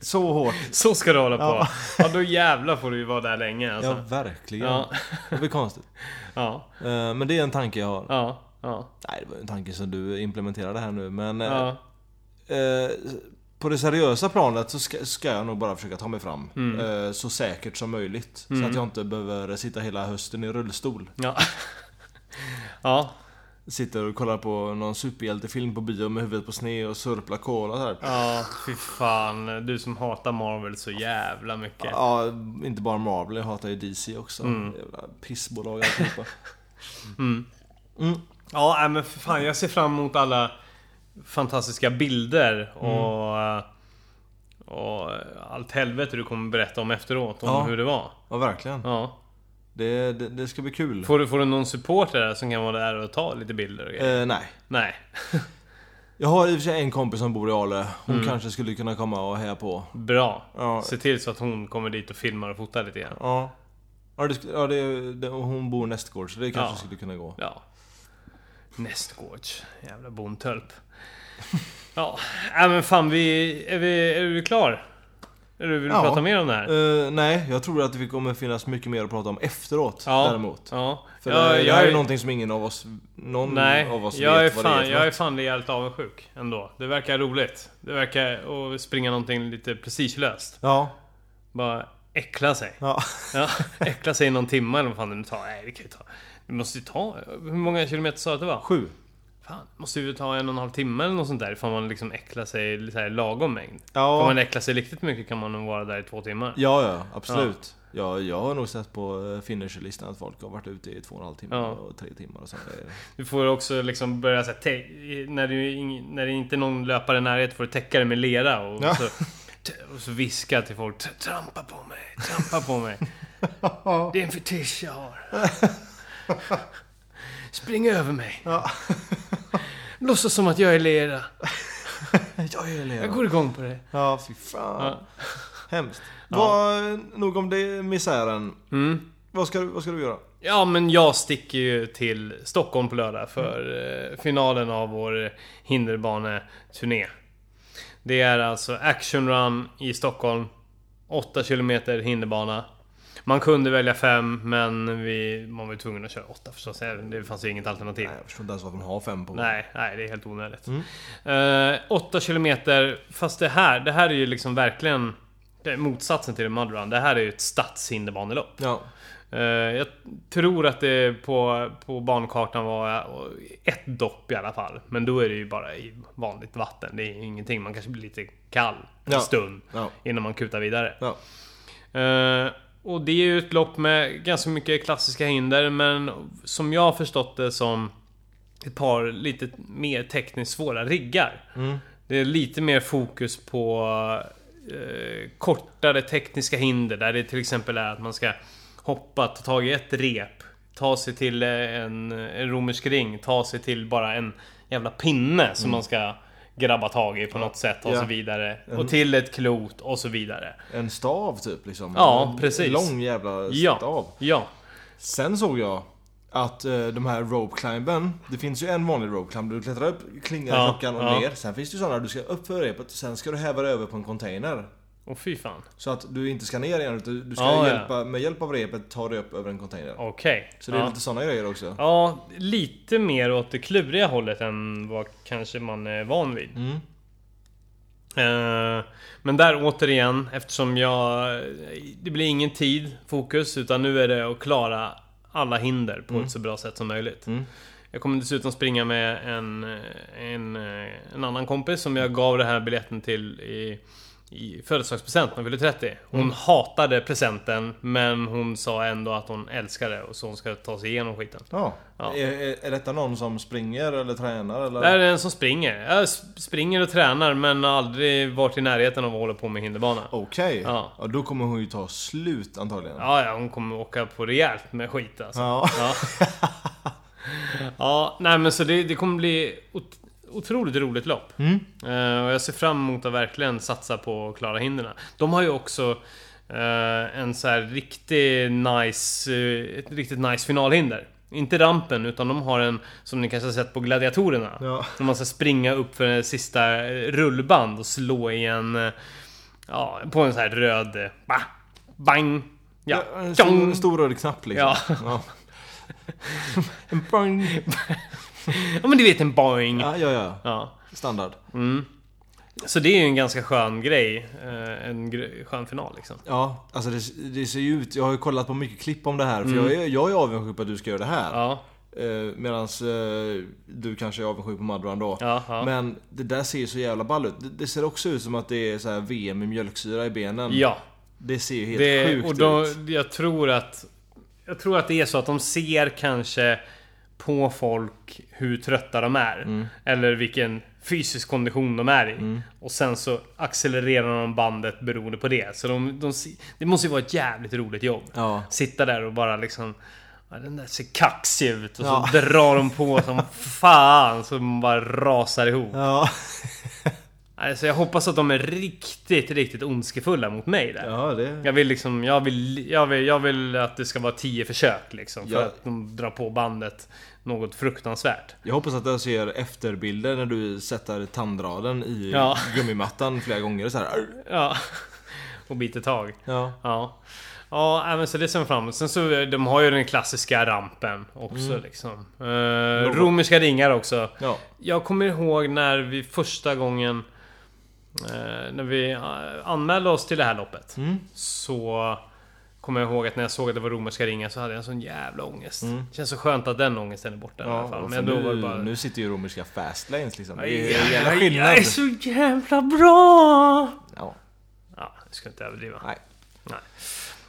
Speaker 2: Så hårt.
Speaker 1: så ska du hålla på. Ja.
Speaker 2: Ja.
Speaker 1: då jävlar får du ju vara där länge alltså.
Speaker 2: Ja, verkligen.
Speaker 1: Ja,
Speaker 2: Det blir konstigt.
Speaker 1: ja,
Speaker 2: Eh, Men det är en tanke jag har.
Speaker 1: ja. Ja.
Speaker 2: Nej, det var ju en tanke som du implementerade här nu men... eh,
Speaker 1: ja.
Speaker 2: Eh, på det seriösa planet så ska, ska jag nog bara försöka ta mig fram
Speaker 1: Mm.
Speaker 2: eh, så säkert som möjligt. Så att jag inte behöver sitta hela hösten i rullstol.
Speaker 1: Ja. ja.
Speaker 2: Sitter och kollar på någon superhjältefilm på bio med huvudet på sned och sörplar cola och så här.
Speaker 1: Ja, fy fan. Du som hatar Marvel så jävla mycket. Mm.
Speaker 2: Ja, inte bara Marvel, jag hatar ju DC också. Jävla pissbolag alltihopa.
Speaker 1: Ja, nej, men för fan. Jag ser fram emot alla fantastiska bilder och...
Speaker 2: Mm.
Speaker 1: Och allt helvete du kommer berätta om efteråt, om
Speaker 2: Ja.
Speaker 1: hur det var.
Speaker 2: Ja, verkligen.
Speaker 1: [laughs] Ja.
Speaker 2: Det, det, det ska bli kul.
Speaker 1: Får du, får du någon supporter där som kan vara där och ta lite bilder och grejer?
Speaker 2: Eh, nej.
Speaker 1: Nej.
Speaker 2: Jag har i och för sig en kompis som bor i Ale. Hon
Speaker 1: Mm.
Speaker 2: kanske skulle kunna komma och heja på.
Speaker 1: Bra.
Speaker 2: Ja.
Speaker 1: Se till så att hon kommer dit och filmar och fotar lite grann.
Speaker 2: Ja. Ja, det, sk- ja det, det, och hon bor nästgårds så det kanske
Speaker 1: Ja.
Speaker 2: skulle kunna gå.
Speaker 1: Ja. Nästgårds. Jävla bondtölp. [laughs] ja. Äh, men fan vi... Är, vi, är du klar? Eller vill du
Speaker 2: Ja.
Speaker 1: prata mer om det här?
Speaker 2: Eh, nej, jag tror att det kommer finnas mycket mer att prata om efteråt
Speaker 1: Ja.
Speaker 2: däremot.
Speaker 1: Ja.
Speaker 2: För
Speaker 1: Ja,
Speaker 2: det, det här är
Speaker 1: är-
Speaker 2: någonting som ingen av oss, någon
Speaker 1: Nej,
Speaker 2: av oss
Speaker 1: jag är,
Speaker 2: vet vad
Speaker 1: fan,
Speaker 2: det
Speaker 1: jag
Speaker 2: är
Speaker 1: är
Speaker 2: för något.
Speaker 1: fan rejält avundsjuk ändå. Det verkar roligt. Det verkar att springa någonting lite prestigelöst.
Speaker 2: Ja,
Speaker 1: Bara äckla sig.
Speaker 2: ja.
Speaker 1: Ja, [laughs] äckla sig i någon timme eller vad fan det nu tar. Nej, det kan ju ta... Det måste ju ta... Hur många kilometer sa du att det var?
Speaker 2: Sju.
Speaker 1: Fan, måste ju ta en och en halv timme eller något sånt där ifall man liksom äcklar sig så här lagom mängd.
Speaker 2: Ja.
Speaker 1: Om man äcklar sig riktigt mycket kan man nog vara där i två timmar.
Speaker 2: Ja, ja, absolut. Ja, jag har nog sett på eh, finisherlistan att folk har varit ute i två och en halv timme
Speaker 1: Ja.
Speaker 2: och tre timmar och sånt där.
Speaker 1: Du får också liksom börja så här, te- i- när, du, ing- när det inte är någon löpare i närheten får du täcka det med lera och,
Speaker 2: Ja.
Speaker 1: så, t- och så viska till folk "Tr- Trampa på mig, trampa på
Speaker 2: [laughs]
Speaker 1: mig. Det är en fetisch jag har. [laughs] Spring över mig.
Speaker 2: Ja. [laughs]
Speaker 1: Låtsas som att jag är lera.
Speaker 2: Jag är
Speaker 1: Jag
Speaker 2: elev.
Speaker 1: går igång på det.
Speaker 2: Ja, fy fan.
Speaker 1: Ja.
Speaker 2: Hemskt. Vad, eh, nog om det misären.
Speaker 1: Mm.
Speaker 2: Vad ska, du- vad ska du göra?
Speaker 1: Ja, men jag sticker ju till Stockholm på lördag för eh, finalen av vår hinderbaneturné. Det är alltså Action Run i Stockholm. 8 km hinderbana. Man kunde välja 5, men vi, man var ju tvungen att köra 8 förstås. Även- Det fanns ju inget alternativ.
Speaker 2: Nej, jag förstår inte ens varför de har fem på.
Speaker 1: Nej, nej det är helt onödigt. Mm. 8 kilometer, fast det här, det här är ju liksom verkligen det är motsatsen till en mud run. Det här är ju ett stadshinderbanelopp.
Speaker 2: Ja.
Speaker 1: Eh, jag tror att det på, på bankartan var eh, ett dopp i alla fall. Men då är det ju bara i vanligt vatten. Det är ju ingenting. Man kanske blir lite kall en
Speaker 2: Ja.
Speaker 1: stund
Speaker 2: Ja.
Speaker 1: innan man kutar vidare.
Speaker 2: ja.
Speaker 1: Eh, och det är ju ett lopp med ganska mycket klassiska hinder, men som jag har förstått det som ett par lite mer tekniskt svåra riggar.
Speaker 2: Mm.
Speaker 1: Det är lite mer fokus på eh, kortare tekniska hinder, där det till exempel är att man ska hoppa, ta tag i ett rep, ta sig till eh, en, en romersk ring, ta sig till bara en jävla pinne som man ska grabba tag i på något sätt, ta sig
Speaker 2: Mm. Ja. Mm.
Speaker 1: vidare. Och till ett klot och så vidare.
Speaker 2: En stav typ liksom.
Speaker 1: Ja,
Speaker 2: en
Speaker 1: precis.
Speaker 2: Lång jävla stav.
Speaker 1: Ja, ja.
Speaker 2: Sen såg jag att eh, de här rope climben, det finns ju en vanlig rope climb. Du klättrar upp, klingar
Speaker 1: Ja,
Speaker 2: klockan och
Speaker 1: ja.
Speaker 2: ner. Sen finns det ju sådana du ska upp för repet, sen ska du häva dig över på en container.
Speaker 1: Och fy fan.
Speaker 2: Så att du inte ska ner igen utan du ska
Speaker 1: Ja, ja.
Speaker 2: hjälpa, med hjälp av repet ta dig upp över en container.
Speaker 1: Okej.
Speaker 2: Så det är
Speaker 1: ja.
Speaker 2: lite sådana grejer också.
Speaker 1: ja, lite mer åt det kluriga hållet än vad kanske man är van vid.
Speaker 2: Mm.
Speaker 1: Eh, Men där återigen, eftersom jag... Det blir ingen tid, fokus, utan nu är det att klara alla hinder på ett så bra sätt som möjligt.
Speaker 2: Mm.
Speaker 1: Jag kommer dessutom springa med en, eh, en, eh, en annan kompis som jag gav den här biljetten till i, i födelsedagspresent när hon fyllde 30. Hon hatade presenten, men hon sa ändå att hon älskar det och så hon ska ta sig igenom skiten.
Speaker 2: Ja.
Speaker 1: Ja.
Speaker 2: Är, är, är detta någon som springer eller tränar eller?
Speaker 1: Det här är en som springer. Jag s- springer och tränar men har aldrig varit i närheten av att hålla på med hinderbana.
Speaker 2: Okej.
Speaker 1: Ja.
Speaker 2: Ja. då kommer hon ju ta slut antagligen.
Speaker 1: Ja, ja, hon kommer åka på rejält med skit alltså.
Speaker 2: Ja.
Speaker 1: Ja. [laughs] ja, nej men så det, det kommer bli ot- otroligt roligt lopp.
Speaker 2: Mm.
Speaker 1: Eh, och jag ser fram emot att verkligen satsa på att klara hindren. De har ju också eh, en så här riktig nice, eh, ett riktigt nice finalhinder. Inte rampen, utan de har en som ni kanske har sett på Gladiatorerna.
Speaker 2: Ja.
Speaker 1: När man ska springa upp för det sista eh, rullband och slå i en... eh, Ja, på en så här röd... eh, Ba, bang! Ja,
Speaker 2: en stor,
Speaker 1: tjong! [laughs]
Speaker 2: en stor röd knapp liksom.
Speaker 1: Ja.
Speaker 2: Ja. En bang.
Speaker 1: ja men du vet en boing.
Speaker 2: Ja, ja, ja.
Speaker 1: Ja.
Speaker 2: Standard.
Speaker 1: Mm. Så det är ju en ganska skön grej. eh, En gr- skön final liksom.
Speaker 2: Ja, alltså det, det ser ju ut... Jag har ju kollat på mycket klipp om det här. För jag,
Speaker 1: Mm.
Speaker 2: är, jag är avundsjuk på att du ska göra det här.
Speaker 1: Ja,
Speaker 2: Eh, Medan eh, du kanske är avundsjuk på Madran då.
Speaker 1: ja, ja.
Speaker 2: Men det där ser ju så jävla ball ut. Det, det ser också ut som att det är så här VM i mjölksyra i benen.
Speaker 1: ja.
Speaker 2: Det ser ju helt
Speaker 1: Det,
Speaker 2: sjukt
Speaker 1: och de,
Speaker 2: ut.
Speaker 1: jag tror att... Jag tror att det är så att de ser kanske på folk hur trötta de är.
Speaker 2: Mm.
Speaker 1: Eller vilken fysisk kondition de är i. Och sen så accelererar de bandet beroende på det. Så de, de, se- det måste ju vara ett jävligt roligt jobb.
Speaker 2: Ja.
Speaker 1: Sitta där och bara liksom... Ja, den där ser kaxig ut. Och så
Speaker 2: Ja.
Speaker 1: [laughs] drar de på
Speaker 2: [laughs]
Speaker 1: som fan. Så man bara rasar ihop. [laughs]
Speaker 2: Ja.
Speaker 1: Alltså jag hoppas att de är riktigt, riktigt ondskefulla mot mig där.
Speaker 2: ja, det...
Speaker 1: Jag vill liksom, jag vill, jag vill, jag vill att det ska vara tio försök liksom. För
Speaker 2: Ja.
Speaker 1: att de drar på bandet något fruktansvärt.
Speaker 2: Jag hoppas att jag ser efterbilder när du sätter tandraden i
Speaker 1: Ja.
Speaker 2: gummimattan flera gånger. Så här. "Arr."
Speaker 1: Ja. [laughs] Och biter tag.
Speaker 2: Ja.
Speaker 1: Ja. Ja, nej, men så det ser man fram emot. Sen så, de har ju den klassiska rampen också liksom. Eh, romerska ringar också.
Speaker 2: Ja.
Speaker 1: Jag kommer ihåg när vi första gången eh, När vi eh, anmälde oss till det här loppet
Speaker 2: Mm.
Speaker 1: Så Kommer jag ihåg att när jag såg att det var romerska ringar så hade jag en sån jävla ångest Det Känns så skönt att den ångesten är borta i alla
Speaker 2: Mm. Ja,
Speaker 1: fall
Speaker 2: och
Speaker 1: Men
Speaker 2: för
Speaker 1: då
Speaker 2: nu,
Speaker 1: var det bara
Speaker 2: nu sitter ju romerska fastlanes liksom. Det
Speaker 1: Aj,
Speaker 2: är en jävla
Speaker 1: aj,
Speaker 2: skillnad.
Speaker 1: Jag är så jävla bra!
Speaker 2: Ja,
Speaker 1: Ja, jag ska inte överdriva
Speaker 2: nej.
Speaker 1: Nej.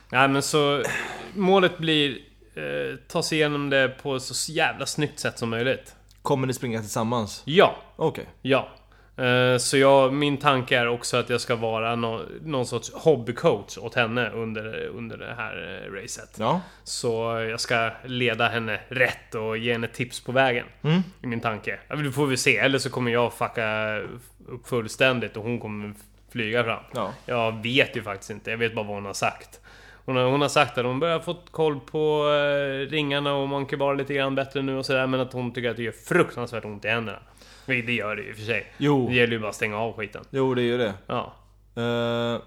Speaker 1: Nej men så Målet blir eh, Ta sig igenom det på ett så jävla snyggt sätt som möjligt
Speaker 2: Kommer ni springa tillsammans?
Speaker 1: Ja!
Speaker 2: Okej.
Speaker 1: Ja. Eh, Så jag, min tanke är också att jag ska vara nå- någon sorts hobbycoach åt henne under, under det här eh, racet.
Speaker 2: Ja.
Speaker 1: Så jag ska leda henne rätt och ge henne tips på vägen. I min tanke. Ja, men Det får vi se, eller så kommer jag fucka upp fullständigt och hon kommer flyga fram.
Speaker 2: Ja.
Speaker 1: Jag vet ju faktiskt inte, jag vet bara vad hon har sagt. Hon har, hon har sagt att hon börjar fått koll på eh, ringarna och Monkey Bar lite grann bättre nu och sådär, men att hon tycker att det gör fruktansvärt ont i händerna. Vilket det gör det ju i och för sig.
Speaker 2: Jo.
Speaker 1: Det gäller ju bara att stänga av skiten.
Speaker 2: Jo, det är ju det.
Speaker 1: Ja.
Speaker 2: Eh,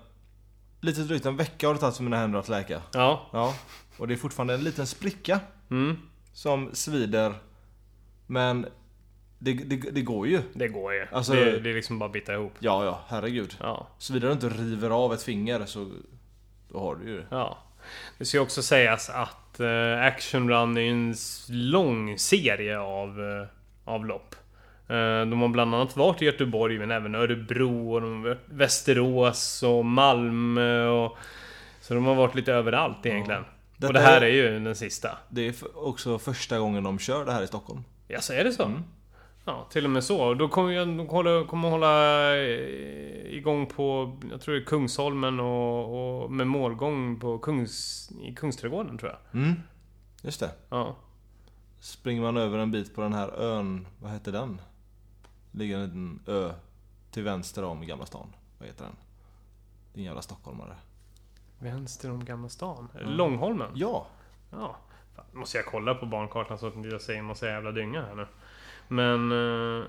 Speaker 2: lite drygt en vecka har det tagit för mina händer att läka.
Speaker 1: Ja.
Speaker 2: Ja. Och det är fortfarande en liten spricka
Speaker 1: Mm.
Speaker 2: som svider. Men det, det, det går ju.
Speaker 1: Det går ju.
Speaker 2: Alltså-
Speaker 1: det, det är liksom bara att bita ihop.
Speaker 2: Ja, ja, herregud.
Speaker 1: Ja.
Speaker 2: Såvida du inte river av ett finger så då har du ju det.
Speaker 1: Ja. Det ska ju också sägas att eh, Action Run är ju en s- lång serie av, eh, av lopp. Eh, de har bland annat varit i Göteborg men även Örebro och de, har varit- Västerås och Malmö och... Så de har varit lite överallt egentligen.
Speaker 2: Detta
Speaker 1: och det här
Speaker 2: är-
Speaker 1: är ju den sista.
Speaker 2: Det är f- också första gången de kör det här i Stockholm.
Speaker 1: Ja, så är det så?
Speaker 2: Mm.
Speaker 1: Ja, till och med så. Och Då kommer jag de hålla, kommer hålla eh, igång på, jag tror det är Kungsholmen och, och med målgång på Kungs, i Kungsträdgården tror jag.
Speaker 2: Mm. Just det.
Speaker 1: Ja.
Speaker 2: Springer man över en bit på den här ön, vad heter den? Ligger en liten ö till vänster om Gamla stan. Vad heter den? Din jävla stockholmare.
Speaker 1: Vänster om Gamla stan?
Speaker 2: Mm.
Speaker 1: Långholmen?
Speaker 2: Ja!
Speaker 1: Ja. Fan, måste jag kolla på barnkartan så att inte jag säger en massa jävla dynga här nu. Men... eh,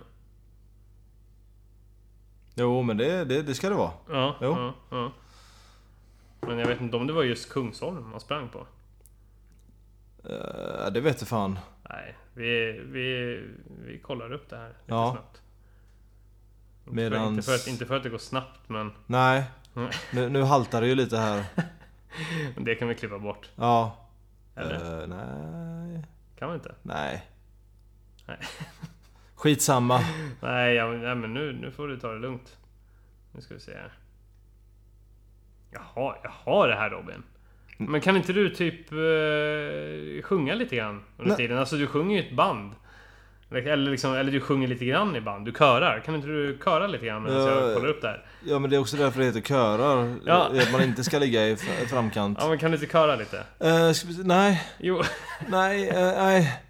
Speaker 2: Jo men det, det, det ska det vara.
Speaker 1: ja,
Speaker 2: Jo.
Speaker 1: ja, ja. Men jag vet inte om det var just Kungsholmen man sprang på.
Speaker 2: Eh, det vet du fan.
Speaker 1: Nej, vi, vi, vi kollar upp det här lite
Speaker 2: Ja.
Speaker 1: snabbt. Inte för-
Speaker 2: Medans-
Speaker 1: Inte, för att, inte för att det går snabbt, men
Speaker 2: Nej.
Speaker 1: Mm.
Speaker 2: Nu, nu haltar det ju lite här.
Speaker 1: det kan vi klippa bort.
Speaker 2: Ja.
Speaker 1: Eller?
Speaker 2: Eh, nej.
Speaker 1: Kan vi inte?
Speaker 2: Nej.
Speaker 1: Nej. [laughs]
Speaker 2: Skitsamma.
Speaker 1: Nej, ja, men- nej men nu, nu får du ta det lugnt. Nu ska vi se här. Jaha, jaha det här Robin.
Speaker 2: Mm.
Speaker 1: Men kan inte du typ eh, sjunga lite grann under
Speaker 2: Nej.
Speaker 1: tiden? Alltså du sjunger ju i ett band. Eller, liksom, eller du sjunger lite grann i band. Du körar. Kan inte du köra lite grann medan
Speaker 2: Ja.
Speaker 1: jag kollar upp det här?
Speaker 2: Ja men det är också därför det heter körar.
Speaker 1: Ja.
Speaker 2: Att man inte ska ligga i f- framkant.
Speaker 1: Ja men kan du inte köra lite?
Speaker 2: Eh, ska vi se- nej.
Speaker 1: Jo, [laughs]
Speaker 2: Nej. eh, nej.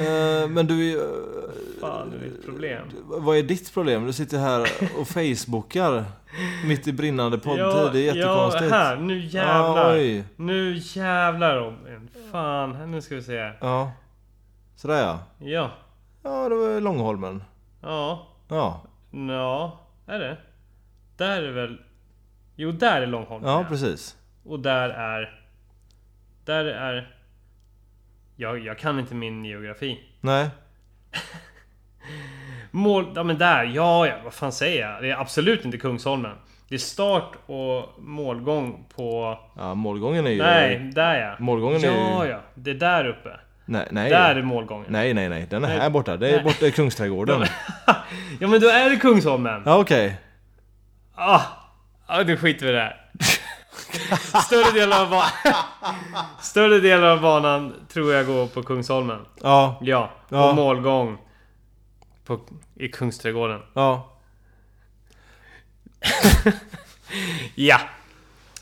Speaker 2: Eh, men du är ju, eh,
Speaker 1: fan det är ditt problem.
Speaker 2: Vad är ditt problem? Du sitter här och facebookar mitt i brinnande poddtid. det är jättekonstigt.
Speaker 1: Ja, här. Nu jävlar.
Speaker 2: Ah, oj.
Speaker 1: nu jävlar Robin. Fan, nu ska vi se här.
Speaker 2: Ja. Sådär ja.
Speaker 1: Ja.
Speaker 2: Ja, det var Långholmen.
Speaker 1: Ja.
Speaker 2: Ja,
Speaker 1: Ja, är det? Där är väl... Jo, där är Långholmen.
Speaker 2: ja precis.
Speaker 1: Och där är... Där är... Jag, jag kan inte min geografi.
Speaker 2: Nej.
Speaker 1: Mål... Ja men där, ja ja, vad fan säger jag? Det är absolut inte Kungsholmen. Det är start och målgång på...
Speaker 2: Ja, målgången är ju...
Speaker 1: Nej, där ja.
Speaker 2: Målgången
Speaker 1: ja,
Speaker 2: är ju-
Speaker 1: Ja, ja. Det är där uppe.
Speaker 2: Nej, nej.
Speaker 1: Där är målgången.
Speaker 2: Nej, nej, nej. Den är
Speaker 1: Nej.
Speaker 2: här borta. Det är
Speaker 1: Nej.
Speaker 2: borta i Kungsträdgården.
Speaker 1: ja men då är det Kungsholmen.
Speaker 2: ja, okej.
Speaker 1: Ah, ah, nu skiter vi i det
Speaker 2: [laughs]
Speaker 1: här. Större delen av banan... Större delen av banan tror jag går på Kungsholmen.
Speaker 2: Ja,
Speaker 1: Ja, och
Speaker 2: Ja.
Speaker 1: målgång. På, I Kungsträdgården.
Speaker 2: ja.
Speaker 1: Ja!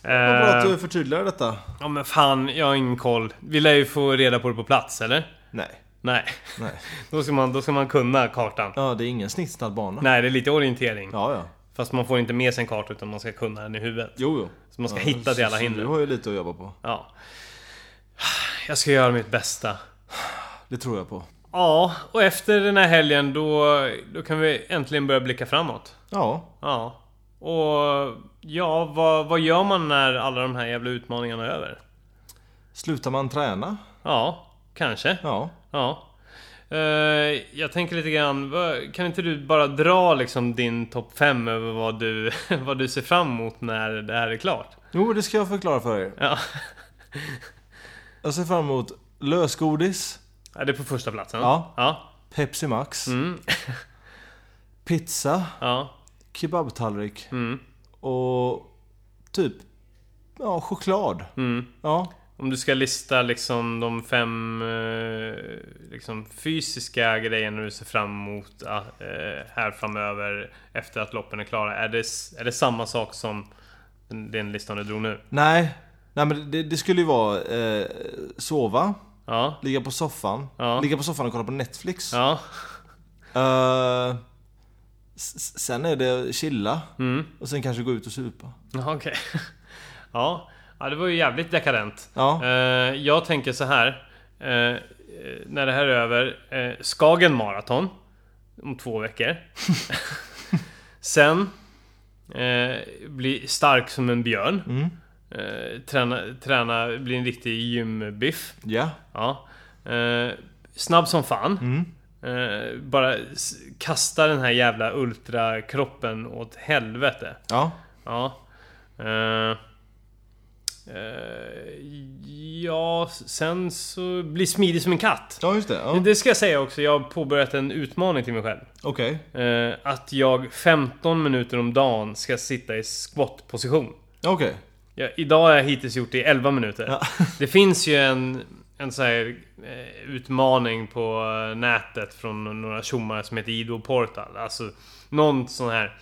Speaker 2: Vad bra att
Speaker 1: Eh,
Speaker 2: du förtydligar detta.
Speaker 1: Ja men fan, jag har ingen koll. Vi lär ju få reda på det på plats, eller?
Speaker 2: Nej.
Speaker 1: Nej. [laughs]
Speaker 2: Nej.
Speaker 1: Då ska man, då ska man kunna kartan.
Speaker 2: Ja, det är ingen snittsnabb bana.
Speaker 1: Nej, det är lite orientering.
Speaker 2: Ja, ja.
Speaker 1: Fast man får inte med sig en karta utan man ska kunna den i huvudet.
Speaker 2: Jo, jo.
Speaker 1: Så man ska
Speaker 2: ja,
Speaker 1: hitta till
Speaker 2: så-
Speaker 1: alla
Speaker 2: så
Speaker 1: hinder.
Speaker 2: Du har ju lite att jobba på.
Speaker 1: Ja. Jag ska göra mitt bästa.
Speaker 2: Det tror jag på.
Speaker 1: Ja, och efter den här helgen då, då kan vi äntligen börja blicka framåt.
Speaker 2: Ja.
Speaker 1: Ja. Och ja, vad, vad gör man när alla de här jävla utmaningarna är över?
Speaker 2: Slutar man träna?
Speaker 1: Ja, kanske.
Speaker 2: Ja.
Speaker 1: Ja. Eh, jag tänker lite grann, vad- kan inte du bara dra liksom din topp 5 över vad du, [laughs] vad du ser fram emot när det här är klart?
Speaker 2: Jo, det ska jag förklara för er.
Speaker 1: Ja.
Speaker 2: Jag ser fram emot lösgodis,
Speaker 1: Ja, Det är på första platsen?
Speaker 2: Ja.
Speaker 1: Ja.
Speaker 2: Pepsi Max,
Speaker 1: Mm.
Speaker 2: [laughs] pizza,
Speaker 1: ja.
Speaker 2: kebabtallrik
Speaker 1: Mm.
Speaker 2: och typ ja, choklad.
Speaker 1: Mm.
Speaker 2: Ja.
Speaker 1: Om du ska lista liksom de fem eh, liksom fysiska grejerna du ser fram emot eh, här framöver efter att loppen är klara. Är det, s- är det samma sak som den, den listan du drog nu?
Speaker 2: Nej. Nej, men det, det skulle ju vara eh, sova,
Speaker 1: Ja.
Speaker 2: ligga på soffan,
Speaker 1: Ja.
Speaker 2: ligga på soffan och kolla på Netflix.
Speaker 1: Ja. [laughs]
Speaker 2: Eh, s- s- sen är det chilla
Speaker 1: Mm.
Speaker 2: och sen kanske gå ut och supa.
Speaker 1: Ja, okej. Ja. ja, det var ju jävligt dekadent.
Speaker 2: Ja.
Speaker 1: Eh, jag tänker så här. eh, eh, när det här är över. Uh, Skagen Marathon. Om två
Speaker 2: [laughs]
Speaker 1: veckor. Sen. eh, bli stark som en björn.
Speaker 2: Mm.
Speaker 1: Eh, träna, träna, bli en riktig gymbiff.
Speaker 2: Ja.
Speaker 1: Ja. Eh, snabb som fan.
Speaker 2: Mm.
Speaker 1: Eh, bara s- kasta den här jävla ultrakroppen åt helvete.
Speaker 2: Ja.
Speaker 1: Ja. Eh, eh, ja, sen så... Bli smidig som en katt.
Speaker 2: Ja, just det. Ja.
Speaker 1: Det ska jag säga också, jag har påbörjat en utmaning till mig själv.
Speaker 2: Okej.
Speaker 1: Eh, att jag 15 minuter om dagen ska sitta i squat-position.
Speaker 2: Okej.
Speaker 1: Ja, idag har jag hittills gjort det i 11 minuter.
Speaker 2: Ja.
Speaker 1: [laughs] Det finns ju en, en så här, eh, utmaning på eh, nätet från några tjommar som heter Ido Portal. Alltså någon sån här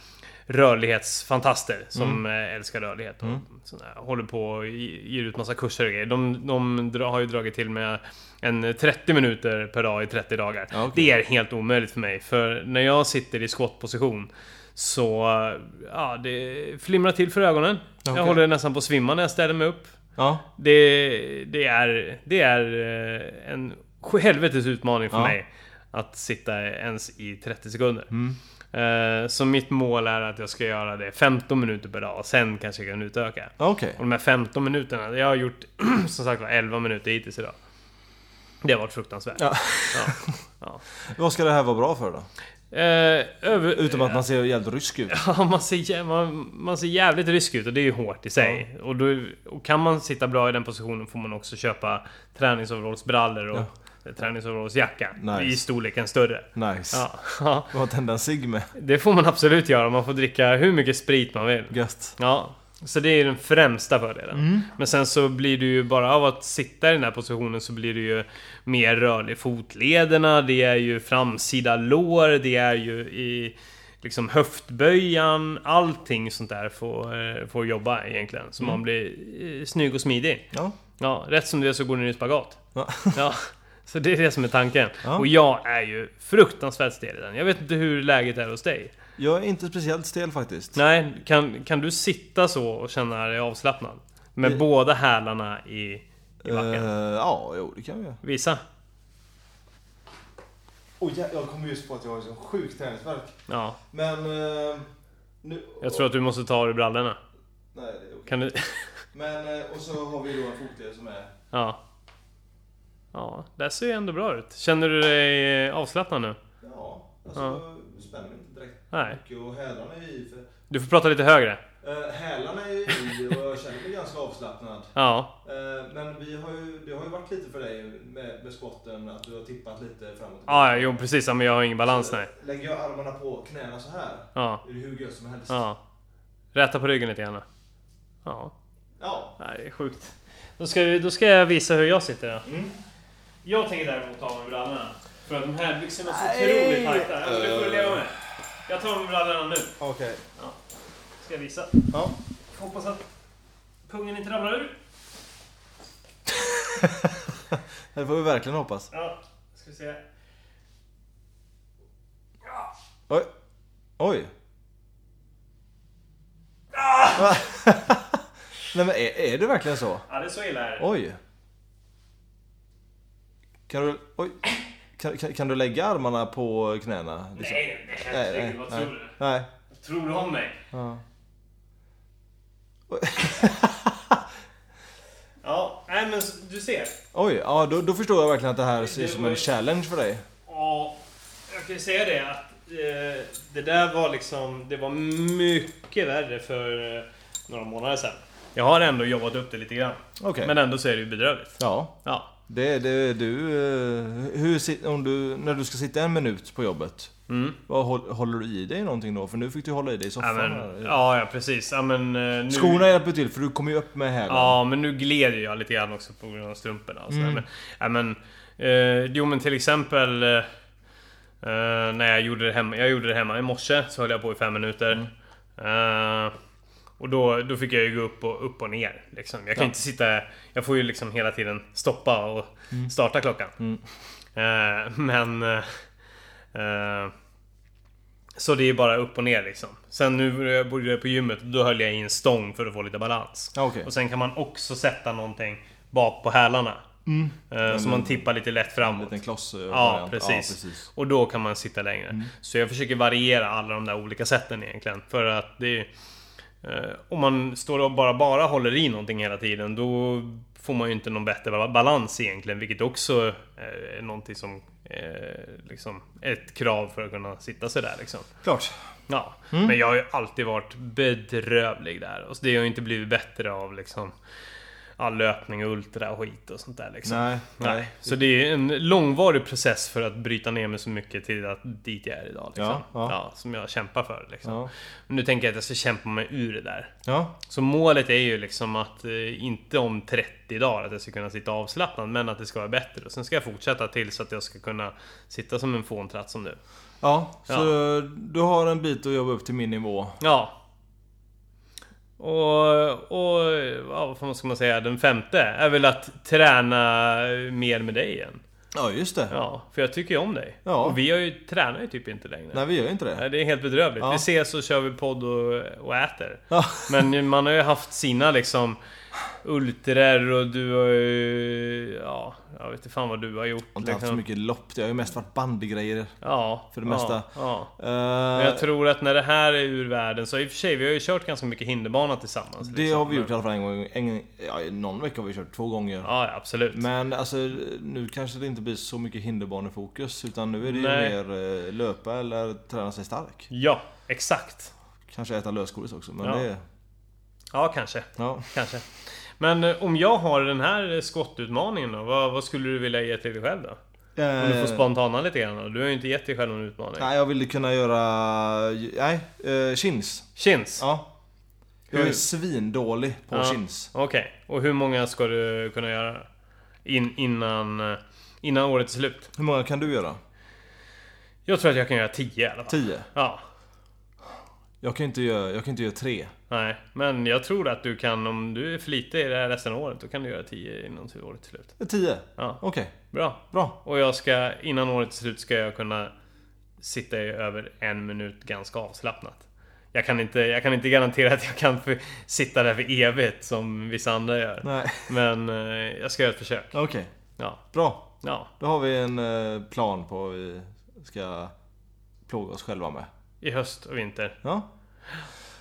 Speaker 1: rörlighetsfantaster
Speaker 2: Mm.
Speaker 1: som eh, älskar rörlighet och sån här, håller på och ge- ger ut massa kurser och grejer. De, de dra, har ju dragit till med en 30 minuter per dag i 30 dagar.
Speaker 2: Ja, okej.
Speaker 1: Det är helt omöjligt för mig för när jag sitter i squat-position så eh, ja, det flimrar till för ögonen.
Speaker 2: Okej.
Speaker 1: Jag håller nästan på att svimma när jag ställer mig upp.
Speaker 2: Ja.
Speaker 1: Det, det är, det är eh, en helvetes utmaning för
Speaker 2: Ja.
Speaker 1: mig att sitta ens i 30 sekunder.
Speaker 2: Mm.
Speaker 1: Eh, Så mitt mål är att jag ska göra det 15 minuter per dag och sen kanske jag kan utöka.
Speaker 2: Okej.
Speaker 1: Och de här 15 minuterna, jag har gjort [clears throat] som sagt var 11 minuter hittills idag. Det har varit fruktansvärt.
Speaker 2: Ja.
Speaker 1: Ja. Ja.
Speaker 2: Vad ska det här vara bra för då?
Speaker 1: Eh, över,
Speaker 2: Utom att man ser jävligt rysk ut.
Speaker 1: [laughs] Ja, man ser, jä- man, man ser jävligt rysk ut och det är ju hårt i sig. Och, då, och kan man sitta bra i den positionen får man också köpa träningsoverallsbrallor och träningsoverallsjacka.
Speaker 2: Nice.
Speaker 1: I storleken större.
Speaker 2: Nice.
Speaker 1: Ja, ja, [laughs]
Speaker 2: Du har tända en cigg med.
Speaker 1: det får man absolut göra. Man får dricka hur mycket sprit man vill.
Speaker 2: Gött.
Speaker 1: Ja, så det är den främsta fördelen.
Speaker 2: Mm.
Speaker 1: Men sen så blir det ju bara av att sitta i den här positionen så blir det ju mer rörlig i fotlederna, det är ju framsida lår, det är ju i liksom höftböjan, allting sånt där får, eh, får jobba egentligen.
Speaker 2: Mm.
Speaker 1: Så man blir eh, snygg och smidig.
Speaker 2: Ja.
Speaker 1: Ja, rätt som det är så går den i spagat.
Speaker 2: Ja.
Speaker 1: [laughs] Ja. Så det är det som är tanken.
Speaker 2: Ja.
Speaker 1: Och jag är ju fruktansvärt stel i den. Jag vet inte hur läget är hos dig.
Speaker 2: Jag är inte speciellt stel faktiskt.
Speaker 1: Nej, kan, kan du sitta så och känna dig avslappnad? Med
Speaker 2: Det-
Speaker 1: båda hälarna i, i backen?
Speaker 2: Eh, ja, jo det kan vi göra.
Speaker 1: Visa.
Speaker 2: Oh, jag, jag kom just på att jag har en sjuk träningsvärk.
Speaker 1: Ja,
Speaker 2: Men... eh, nu...
Speaker 1: jag tror att du måste ta av dig brallorna. [laughs]
Speaker 2: Nej, det är okej.
Speaker 1: Kan du...
Speaker 2: Men, eh, och så har vi då en fotled som är...
Speaker 1: Ja. Ja, det här ser ju ändå bra ut. Känner du dig eh, avslappnad nu?
Speaker 2: Ja,
Speaker 1: alltså, Ja.
Speaker 2: det spänner mig inte direkt
Speaker 1: Nej.
Speaker 2: mycket och hälarna är i. För, eh,
Speaker 1: Du får prata lite högre.
Speaker 2: hälarna är i och jag känner mig ganska avslappnad.
Speaker 1: Ja.
Speaker 2: Eh, Men vi har ju, det har ju varit lite för dig med, med squatten, att du har tippat lite framåt.
Speaker 1: Ja, jo precis. Ja, men jag har ingen balans nej.
Speaker 2: Lägger jag armarna på knäna så här
Speaker 1: Ja.
Speaker 2: är det hur gött som helst.
Speaker 1: Ja. Räta på ryggen lite grann. Ja.
Speaker 2: Ja.
Speaker 1: Nej, det är sjukt. Då ska, vi, då ska jag visa hur jag sitter då.
Speaker 2: Mm.
Speaker 1: Jag tänker däremot ta av mig brallorna. För att de här byxorna är så
Speaker 2: Nej.
Speaker 1: otroligt tajta. Ja, men Det får du leva med. Jag tar av mig brallorna nu.
Speaker 2: Okej.
Speaker 1: Ska jag visa.
Speaker 2: Ja.
Speaker 1: Hoppas att pungen inte ramlar ur.
Speaker 2: Det får vi verkligen hoppas.
Speaker 1: Ja, ska vi se.
Speaker 2: Oj. Oj. Ah! [laughs] Nej men är, är det verkligen så?
Speaker 1: Ja, det är så illa är det.
Speaker 2: Oj. Kan du, oj. Kan, kan, kan du lägga armarna på knäna?
Speaker 1: Nej,
Speaker 2: liksom?
Speaker 1: nej, nej. Herregud, vad tror du?
Speaker 2: Nej.
Speaker 1: Vad tror du om mig?
Speaker 2: Ja.
Speaker 1: Ja, nej men s- du ser.
Speaker 2: Oj, ja då, då förstår jag verkligen att det här ser
Speaker 1: Det
Speaker 2: som
Speaker 1: var
Speaker 2: en
Speaker 1: ju-
Speaker 2: challenge för dig.
Speaker 1: Ja, jag kan ju säga det att eh, det där var liksom, det var mycket värre för eh, några månader sedan. Jag har ändå jobbat upp det lite grann.
Speaker 2: Okej.
Speaker 1: Men ändå så är det ju bedrövligt.
Speaker 2: Ja.
Speaker 1: Ja.
Speaker 2: Det, det du... eh, Hur, sit- om du... När du ska sitta en minut på jobbet.
Speaker 1: Mm.
Speaker 2: Vad håll- håller du i dig någonting då? För nu fick du hålla i dig i
Speaker 1: Ja,
Speaker 2: soffan.
Speaker 1: men,
Speaker 2: här.
Speaker 1: ja, ja precis. Ja, men, eh, nu,
Speaker 2: Skorna hjälper till för du kommer ju upp med hälen.
Speaker 1: Ja, men nu gled ju jag lite grann också på grund av strumporna. och sådär.
Speaker 2: Mm.
Speaker 1: Men, ja, men, eh, jo men till exempel eh, eh, när jag gjorde det hemma. Jag gjorde det hemma i morse så höll jag på i fem minuter.
Speaker 2: Mm.
Speaker 1: Eh, och då, då fick jag ju gå upp och, upp och ner. Liksom. Jag kan
Speaker 2: Ja.
Speaker 1: inte sitta... Jag får ju liksom hela tiden stoppa och starta klockan.
Speaker 2: Mm.
Speaker 1: Eh, men... eh, eh, så det är ju bara upp och ner liksom. Sen nu när jag bodde på gymmet, då höll jag i en stång för att få lite balans.
Speaker 2: Ja, okej.
Speaker 1: Och sen kan man också sätta någonting bak på hälarna.
Speaker 2: Mm.
Speaker 1: Eh, så man tippar lite lätt
Speaker 2: En
Speaker 1: framåt.
Speaker 2: liten kloss. eh,
Speaker 1: Ja
Speaker 2: variant.
Speaker 1: precis.
Speaker 2: ja, precis.
Speaker 1: Och då kan man sitta längre. Så jag försöker variera alla de där olika sätten egentligen. För att det är... eh, Om man står och bara, bara håller i någonting hela tiden då får man ju inte någon bättre ba- balans egentligen. Vilket också eh, är någonting som... eh, Liksom ett krav för att kunna sitta sådär liksom.
Speaker 2: Klart.
Speaker 1: Ja,
Speaker 2: Mm.
Speaker 1: men jag har ju alltid varit bedrövlig där. Och så det har ju inte blivit bättre av liksom all löpning och ultra och skit och sånt där liksom.
Speaker 2: Nej, nej.
Speaker 1: Nej. Så det är en långvarig process för att bryta ner mig så mycket till att dit jag är idag. Liksom.
Speaker 2: Ja, ja.
Speaker 1: som jag kämpar för. Liksom.
Speaker 2: Ja.
Speaker 1: Men nu tänker jag att jag ska kämpa mig ur det där.
Speaker 2: Ja.
Speaker 1: Så målet är ju liksom att, eh, inte om 30 dagar att jag ska kunna sitta avslappnad, men att det ska vara bättre. Och sen ska jag fortsätta tills att jag ska kunna sitta som en fåntratt som nu.
Speaker 2: ja. Så du har en bit att jobba upp till min nivå.
Speaker 1: Ja. Och, och ja, vad ska man säga, den femte är väl att träna mer med dig igen.
Speaker 2: Ja, just det.
Speaker 1: Ja, för jag tycker ju om dig.
Speaker 2: Ja.
Speaker 1: Och vi har ju, tränar ju typ inte längre.
Speaker 2: Nej, vi gör ju inte det.
Speaker 1: Nej, Det är helt bedrövligt.
Speaker 2: Ja.
Speaker 1: Vi ses och kör vi podd och, och äter.
Speaker 2: Ja.
Speaker 1: Men man har ju haft sina liksom ultror och du har ju... Ja, jag vet inte fan vad du har gjort.
Speaker 2: Jag har inte haft så
Speaker 1: Liksom.
Speaker 2: mycket lopp. Det har ju mest varit bandygrejer. Eh,
Speaker 1: Ja,
Speaker 2: för det mesta.
Speaker 1: Ja, ja.
Speaker 2: Eh,
Speaker 1: Men jag tror att när det här är ur världen så i och för sig, vi har ju kört ganska mycket hinderbana tillsammans.
Speaker 2: det
Speaker 1: liksom.
Speaker 2: har vi gjort i alla fall en gång. En, ja, någon vecka har vi kört två gånger.
Speaker 1: Ja, ja, absolut.
Speaker 2: Men alltså, nu kanske det inte blir så mycket hinderbanefokus utan nu är det
Speaker 1: Nej.
Speaker 2: ju mer eh, löpa eller träna sig stark.
Speaker 1: Ja, exakt.
Speaker 2: Kanske äta lösgodis också. Men
Speaker 1: Ja.
Speaker 2: det,
Speaker 1: Ja, kanske.
Speaker 2: ja.
Speaker 1: Kanske. Men eh, om jag har den här eh, skottutmaningen då? Vad, vad skulle du vilja ge till dig själv då? Om du får spontana lite grann då? Du har ju inte gett dig själv någon utmaning.
Speaker 2: Eh. Nej, jag ville kunna göra... Nej, eh, chins.
Speaker 1: Chins?
Speaker 2: Ja. Jag
Speaker 1: Hur?
Speaker 2: är svindålig på
Speaker 1: Ja.
Speaker 2: chins.
Speaker 1: Okej. Och hur många ska du kunna göra? In, innan, eh, innan året är slut?
Speaker 2: Hur många kan du göra?
Speaker 1: Jag tror att jag kan göra 10 i alla fall.
Speaker 2: Tio?
Speaker 1: Ja.
Speaker 2: Jag kan ju inte göra, jag kan inte göra tre.
Speaker 1: Nej, men jag tror att du kan, om du är flitig i det här resten av året, då kan du göra 10 innan året är slut.
Speaker 2: Tio?
Speaker 1: Ja,
Speaker 2: Okej,
Speaker 1: bra.
Speaker 2: bra.
Speaker 1: Och jag ska, innan året är slut ska jag kunna sitta i över en minut ganska avslappnat. Jag kan inte, jag kan inte garantera att jag kan för, sitta där för evigt som vissa andra gör.
Speaker 2: Nej, [laughs]
Speaker 1: Men eh, jag ska göra ett försök.
Speaker 2: okej.
Speaker 1: Ja,
Speaker 2: Bra.
Speaker 1: ja.
Speaker 2: Då har vi en eh, plan på vad vi ska plåga oss själva med.
Speaker 1: I höst och vinter.
Speaker 2: Ja.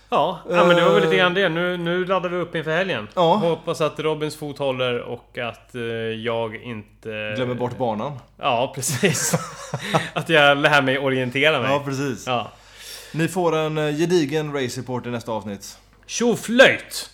Speaker 1: Ja, ja men det var väl lite grann det. Nu, nu laddar vi upp inför helgen.
Speaker 2: Ja.
Speaker 1: Hoppas att Robins fot håller och att eh, jag inte...
Speaker 2: Glömmer bort banan.
Speaker 1: Ja, precis. [laughs] att jag lär mig orientera mig.
Speaker 2: Ja,
Speaker 1: Ja.
Speaker 2: precis. Ni får en eh, gedigen race report i nästa avsnitt.
Speaker 1: Tjoflöjt!